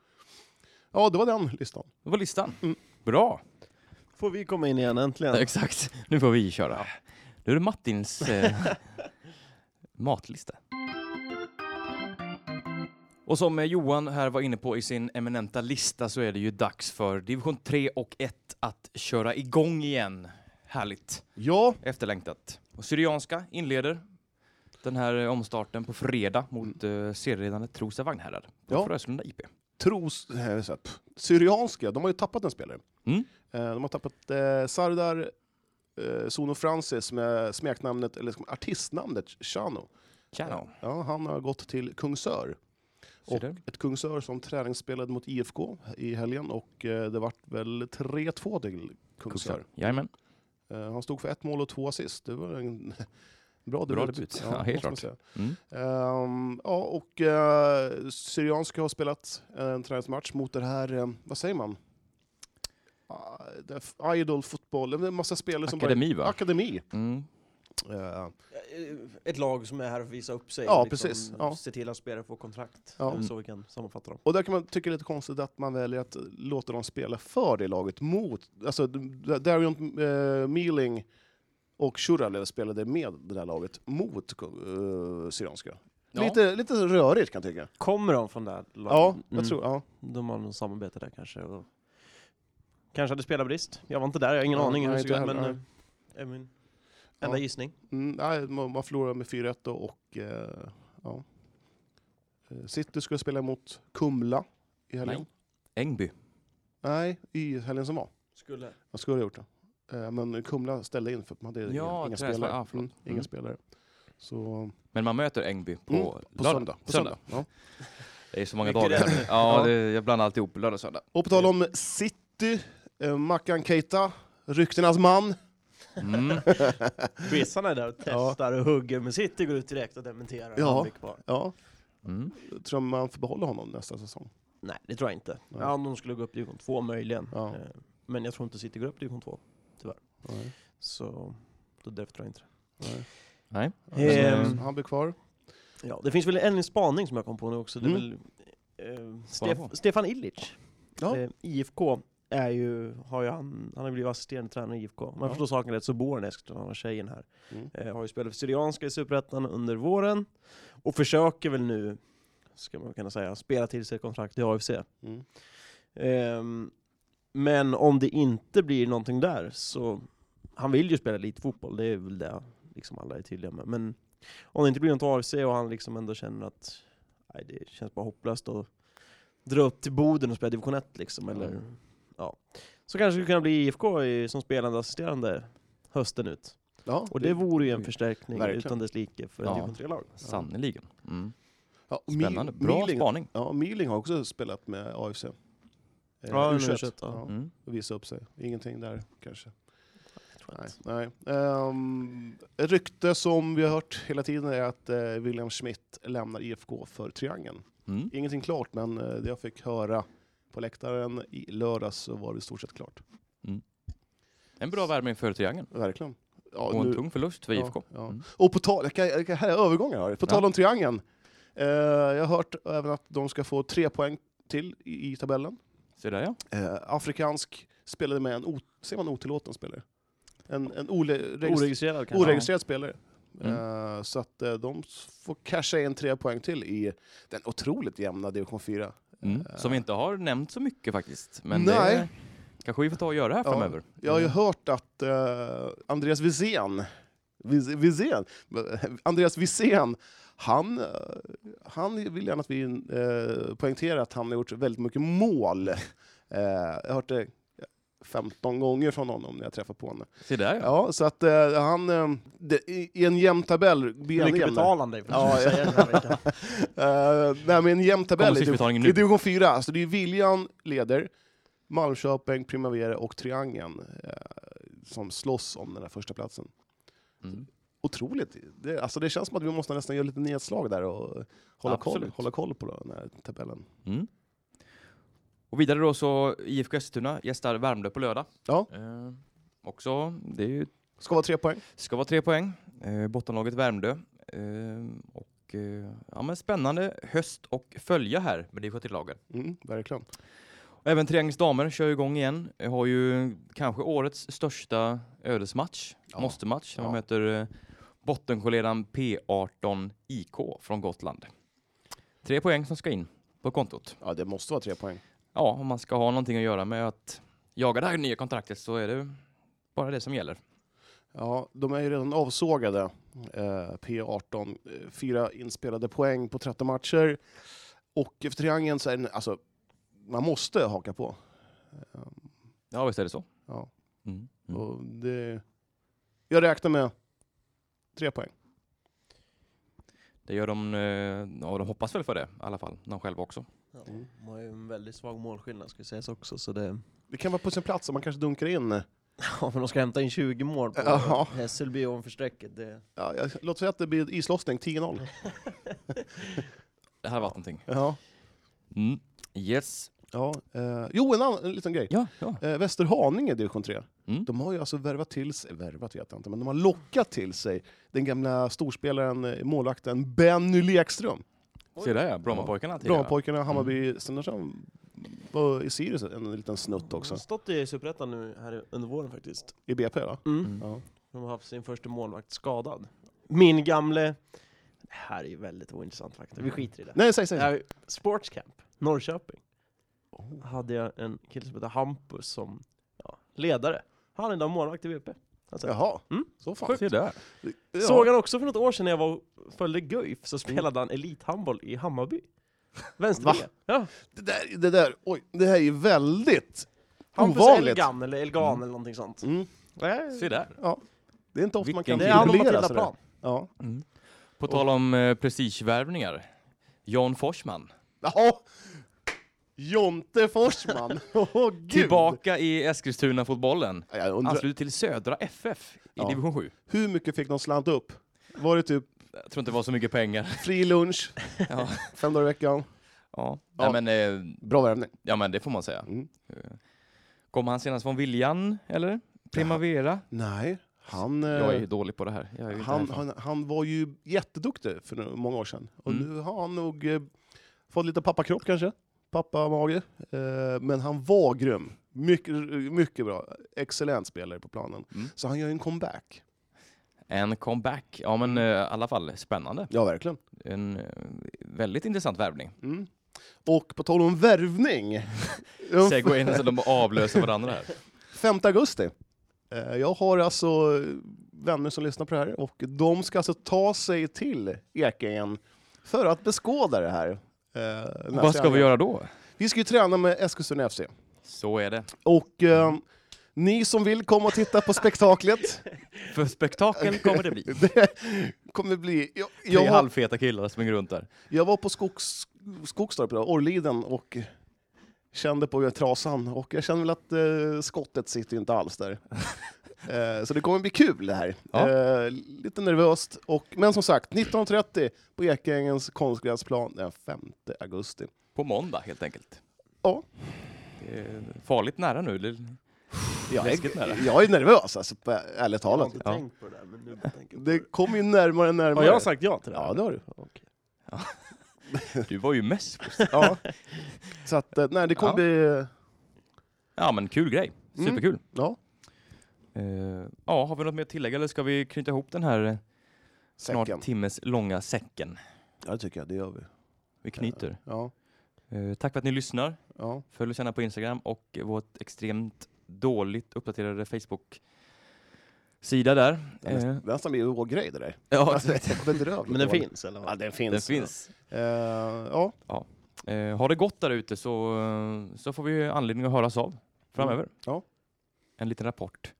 D: Ja, det var den listan.
B: Det var listan.
D: Mm.
B: Bra!
E: Får vi komma in igen äntligen?
B: Exakt. Nu får vi köra. Nu är det Mattins [LAUGHS] eh, matlista. Och som eh, Johan här var inne på i sin eminenta lista så är det ju dags för division 3 och 1 att köra igång igen. Härligt.
D: Ja,
B: Efterlängtat. Och Syrianska inleder den här eh, omstarten på fredag mot mm. serieledande Trosa Vagnhärad på
D: Ja.
B: Frösunda IP.
D: tros... eh, så här, pff, Syrianska, de har ju tappat en spelare.
B: Mm.
D: Eh, De har tappat eh, Sardar eh, Sono Francis med smeknamnet, eller liksom artistnamnet Chano.
B: Tjena.
D: Ja, han har gått till Kungsör.
B: Ser
D: Och
B: du?
D: ett Kungsör som träningsspelade mot IFK i helgen och eh, det vart väl 3-2 till Kungsör.
B: Jajamän.
D: Eh, Han stod för ett mål och två assist. Det var en [LAUGHS] bra debut.
B: Bra debut. Ja, helt
D: måste man
B: klart.
D: säga.
B: Mm.
D: Ehm, ja, och eh, Syrianska har spelat eh, en träningsmatch mot det här, eh, vad säger man? Ah, det är f- Idol fotboll, det är en massa spelare som
B: Akademi,
D: bara...
B: va?
D: Akademi.
B: Mm.
D: Eh,
E: Ett lag som är här för att visa upp sig. liksom,
D: Ja, precis. Ja.
E: Se till att spelare får kontrakt.
D: Ja. Mm.
E: Det är så vi kan sammanfatta dem.
D: och där kan man tycka det är lite konstigt att man väljer att låta dem spela för det laget mot, alltså d- d- Darion eh, Mealing och Shuralev spelade med det där laget mot eh, Syrianska.
B: Ja.
D: Lite, lite rörigt kan jag tycka.
E: Kommer de från det här laget?
D: Ja, jag
E: Mm.
D: tror, ja.
E: De har någon samarbete där kanske. Och... Kanske hade spelarbrist. Jag var inte där, jag har ingen
D: Ja,
E: aning hur
D: nej,
E: det såg
D: inte
E: ut, men
D: heller.
E: eh, är min enda
D: Ja.
E: gissning.
D: Mm, nej, man, man förlorar med 4-1 då och eh, ja. Eh, City skulle spela mot Kumla i helgen.
B: Ängby.
D: Nej. i helgen som var.
E: Skulle.
D: Man skulle ha gjort det. Eh, men Kumla ställde in för att man hade
B: Ja,
D: inga, inga
B: träningsmatch.
D: spelare.
B: Ah, förlåt.
D: inga
B: Mm.
D: spelare. Så
B: Men man möter Ängby på,
D: Mm, på
B: lördag.
D: söndag. På söndag. Ja.
B: Det är så många
E: Mycket
B: dagar
E: rätt.
B: här nu. [LAUGHS] Ja,
D: Ja.
B: det, jag blandar alltid ihop lördag och
D: [LAUGHS]
B: söndag.
D: Och på tal om City, eh, Mackan Keita, ryktenas man.
B: Mm.
E: Ryssarna är där och testar och hugger, men City går ut direkt och dementerar.
D: Ja.
E: Han blir kvar.
D: Ja,
B: Mm.
D: tror man får behålla honom nästa säsong.
E: Nej, det tror jag inte.
D: Nej.
E: Ja, om de skulle gå upp division 2 möjligen.
D: Ja.
E: Eh, Men jag tror inte City går upp division 2.
D: Nej.
E: Så då därför tror jag inte det.
D: Nej.
B: Nej.
D: Ja, eh,
E: Ehm.
D: Han blir kvar.
E: Ja, det finns väl en spaning som jag kom på nu också. Det är
D: Mm.
E: väl, eh,
B: Spana
E: Stef-
B: på.
E: Stefan Illich,
D: Ja.
E: eh, IFK, är ju, har ju han, han har blivit assisterande tränare i IFK. Om jag
D: Ja.
E: förstår saken rätt så bor han i Eskilstuna, han har tjejen här.
D: Mm.
E: Eh, har ju spelat för Syrianska i Superettan under våren och försöker väl nu, ska man kunna säga, spela till sig ett kontrakt i AFC.
D: Mm.
E: Ehm, men om det inte blir någonting där så, han vill ju spela lite fotboll, det är väl det liksom alla är tydliga med. Men om det inte blir något AFC och han liksom ändå känner att nej, det känns bara hopplöst att dra upp till Boden och spela division 1 liksom, eller, ja. Så kanske det skulle kunna bli IFK i, som spelande assisterande hösten ut.
D: Ja,
E: Och det vore ju en förstärkning
D: Verkligen.
E: utan dess like för
B: Ja.
E: en division 3-lag.
B: Sannerligen. Mm.
D: ja, och Mil-
B: Spännande. Bra
D: Milling-
B: spaning.
D: Ja, Myling har också spelat med AFC. Eh,
E: Ja,
D: U21.
E: U21, ja.
B: Mm.
D: och visa upp sig. Ingenting där kanske.
E: tror
D: Nej. Nej. Ehm, ett rykte som vi har hört hela tiden är att eh, William Schmidt lämnar IFK för Triangeln.
B: Mm.
D: Ingenting klart, men eh, det jag fick höra på läktaren i lördags så var det i stort sett klart.
B: En bra värvning för Triangeln.
D: Verkligen. Ja,
B: Och en
D: nu-
B: tung förlust för
D: Ja,
B: IFK.
D: ja.
B: Mm.
D: Och på tal, jag kan, jag kan, här är övergångar. Harry. På
B: Ja.
D: tal om Triangeln. Eh, jag har hört även att de ska få tre poäng till i, i tabellen.
B: Så där ja.
D: Eh, afrikansk spelade med en, o- säger man otillåten spelare? En, en ole, registr-
E: Oregistrerad kanske?
D: oregistrerad spelare.
B: Mm.
D: Eh, så att eh, de s- får casha in tre poäng till i den otroligt jämna division 4.
B: Mm. Som vi inte har nämnt så mycket faktiskt. Men
D: Eh. Nej.
B: det kanske vi får ta och göra här
D: Ja,
B: framöver. Mm.
D: Jag har ju
E: Mm.
D: hört att eh, Andreas Wisén, Wis- Wisén, eh, Andreas Wisén, han, eh, han vill gärna att vi eh, poängterar att han har gjort väldigt mycket mål. Eh, jag har hört det 15 gånger från honom när jag träffar på honom.
B: Se där ja.
D: Ja, så att eh, han, eh, det, i, i en jämn tabell, blir
E: Hur
D: han
E: mycket
D: jämnare.
E: betalar han dig för
D: Ja,
E: att säga den här veckan?
D: Eh, nej, men en jämn tabell
B: Kommer
D: i,
B: sysselbetalningen
D: div-
B: nu?
D: i division 4. Alltså det är Viljan leder, Malmköping, Primavera och Triangeln eh, som slåss om den här första platsen.
B: Mm.
D: Otroligt! Det, alltså det känns som att vi måste nästan göra lite nedslag där och hålla, koll,
B: Absolut.
D: hålla koll på den här tabellen.
B: Mm. Och vidare då så IFK Eskilstuna gästar Värmdö på lördag.
D: Ja.
B: Eh, också, det är ju
D: Ska vara tre poäng.
B: Ska vara tre poäng. Eh, bottenlaget Värmdö. Eh, och, eh, ja, men spännande höst och följa här med division 3-lagen.
D: Mm, verkligen.
B: Och Även Triangelns damer kör igång igen. Eh, Har ju kanske årets största ödesmatch,
D: Ja.
B: måste-match. De
D: Ja.
B: möter eh, bottenkollegan P18 IK från Gotland. Tre poäng som ska in på kontot.
D: Ja, det måste vara tre poäng.
B: Ja, om man ska ha någonting att göra med att jaga det här nya kontraktet så är det bara det som gäller.
D: Ja, de är ju redan avsågade, eh, P18. Eh, Fyra inspelade poäng på 13 matcher. Och efter triangeln så är den, alltså, man måste haka på. Eh,
B: Ja, visst är det så.
D: Ja.
B: Mm.
D: Och det, jag räknar med tre poäng.
B: Det gör de, eh, ja de hoppas väl för det i alla fall, de själva också.
E: Ja, de har ju en väldigt svag målskillnad ska sägas också, så det... [LAUGHS]
D: Det kan vara på sin plats om man kanske dunkar in, eh,
E: Ja, men de ska hämta in 20 mål på
D: Jaha.
E: Hässelby ovanför strecket. Det...
D: ja, jag- låt säga att det blir islossning 10-0.
B: Det här var någonting.
D: Ja.
B: Mm. Yes.
D: Ja, eh, jo, en annan en liten grej.
B: Ja, ja.
D: Eh, Västerhaninge division 3.
B: Mm.
D: De har ju alltså värvat till sig, värvat vet jag inte, men de har lockat till sig den gamla storspelaren, eh, målvakten Benny Lekström.
B: Se där ja, Brommapojkarna tidigare.
D: Brommapojkarna, Hammarby, sen har de var i Sirius en liten snutt
E: De har
D: också.
E: stått i Superettan nu här under våren faktiskt.
D: I BP va?
E: Mm.
B: Mm.
D: Ja.
E: De har haft sin första målvakt skadad. Min gamle... Det här är ju väldigt ointressant faktiskt, vi skiter i det.
D: Nej, säg, säg.
E: Det här är Sportscamp, Norrköping. Hade jag en kille som heter Hampus som ja, ledare. Han är idag målvakt i VP. Alltså,
D: Jaha,
E: Mm.
D: så fan.
B: Se där.
D: Ja. Mm.
E: Såg han också för något år sedan när jag var och följde Guif så spelade han elithandboll i Hammarby.
D: Va?
E: Vänsterbe. Ja.
D: Det där, det där, oj, det här är ju väldigt
E: Hampus
D: ovanligt.
E: Elgan eller Elgan eller någonting sånt.
D: Mm.
B: Se där.
D: Det är inte ofta man
B: Vilken
D: kan
E: Det är han och
D: duellera
E: Matilda
D: sådär.
E: Plan.
D: Ja.
B: På tal om eh, prestigevärvningar. Jan Forsman.
D: Jaha! Jonte Forsman! [LAUGHS] Åh, gud.
B: Tillbaka Alltså, i Eskilstuna-fotbollen.
D: Ja, Jag undrar,
B: Ansluter till Södra FF i
D: Ja.
B: division 7.
D: hur mycket fick de slant upp? Var det typ
B: Jag tror inte det var så mycket pengar.
D: fri lunch,
B: [LAUGHS] Ja.
D: fem dagar i veckan?
B: Ja.
D: Ja.
B: Nej, men, eh,
D: Bra värvning.
B: ja men det får man säga.
D: Mm.
B: Eh, Kom han senast från Viljan eller? Primavera?
D: Nej, han, eh,
B: Jag är ju dålig på det här. Jag är ju inte
D: han,
B: härifrån.
D: han, han var ju jätteduktig för nu- många år sedan. Och
B: Mm.
D: nu har han nog eh, fått lite pappakropp kanske, pappamage. Eh, men han var grym. Mycket, mycket bra. Excellent spelare på planen.
B: Mm.
D: Så han gör ju en comeback.
B: En comeback. Ja
D: Mm.
B: men eh, i alla fall spännande.
D: Ja, verkligen.
B: En eh, väldigt intressant värvning.
D: Mm. Och på tal om värvning.
B: Segway in så de avlöser varandra här.
D: 5 augusti. Eh, Jag har alltså vänner som lyssnar på det här och de ska alltså ta sig till Ekängen för att beskåda det här. eh, den här
B: Vad ska vi
D: träningen.
B: göra då?
D: Vi ska ju träna med Eskilstuna FC.
B: Så är det.
D: Och eh, Ni som vill komma och titta på spektaklet. [LAUGHS]
B: För spektakel kommer det bli.
D: Det kommer bli... Jag,
B: Tre
D: [LAUGHS] jag, har,
B: halvfeta killar springer runt där.
D: jag var på skogs, Skogstorp, idag, Orrliden, och kände på trasan. Och jag känner väl att eh, skottet sitter ju inte
B: [LAUGHS]
D: alls där. eh, så det kommer bli kul det här.
B: Ja.
D: Eh, lite nervöst. Och, men som sagt, 19.30 på Ekängens konstgräsplan den 5 augusti.
B: På måndag helt enkelt.
D: Ja.
B: Det är farligt nära nu. Det är
D: Jag
B: Läskigt nära.
D: är, jag är nervös, alltså, på- ärligt
E: Jag har
D: talat.
E: inte
B: Ja.
E: tänkt på det där, men nu tänker jag på
D: Det kommer ju närmare och
E: det.
D: närmare.
E: Har jag sagt ja till det? här?
D: Ja, det har du.
E: Okej.
B: Du var ju
D: [LAUGHS]
B: mest.
D: Ja. Så att, eh, nej, det kommer
B: Ja.
D: bli...
B: Ja men kul grej.
D: Mm.
B: Superkul.
D: Ja,
B: Eh, ja, har vi något mer att tillägga eller ska vi knyta ihop den här eh,
D: säcken.
B: snart timmes långa säcken?
D: Ja, det tycker jag. Det gör vi.
B: Vi knyter.
D: Ja,
B: Eh, tack för att ni lyssnar.
D: ja.
B: Följ oss gärna på Instagram och vårt extremt dåligt uppdaterade Facebook-sida där.
D: Det är
B: Eh, [LAUGHS]
D: nästan, nästan blir vår grej det där.
B: ja,
D: Alltså, det är bedrövligt.
E: Men den finns, eller?
D: Ja,
E: vad?
D: den finns.
B: den finns.
D: Eh, ja,
B: Eh, har det gott där ute så, eh, så får vi anledning att höras av framöver.
D: Mm. Ja.
B: En liten rapport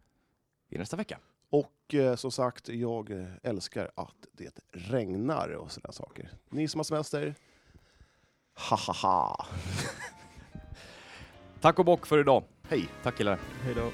B: i nästa vecka.
D: och eh, som sagt, jag eh, älskar att det regnar och sådana saker. Ni som har semester, ha ha ha.
B: Tack och bock för idag.
D: Hej.
B: Tack killar.
E: Hej då.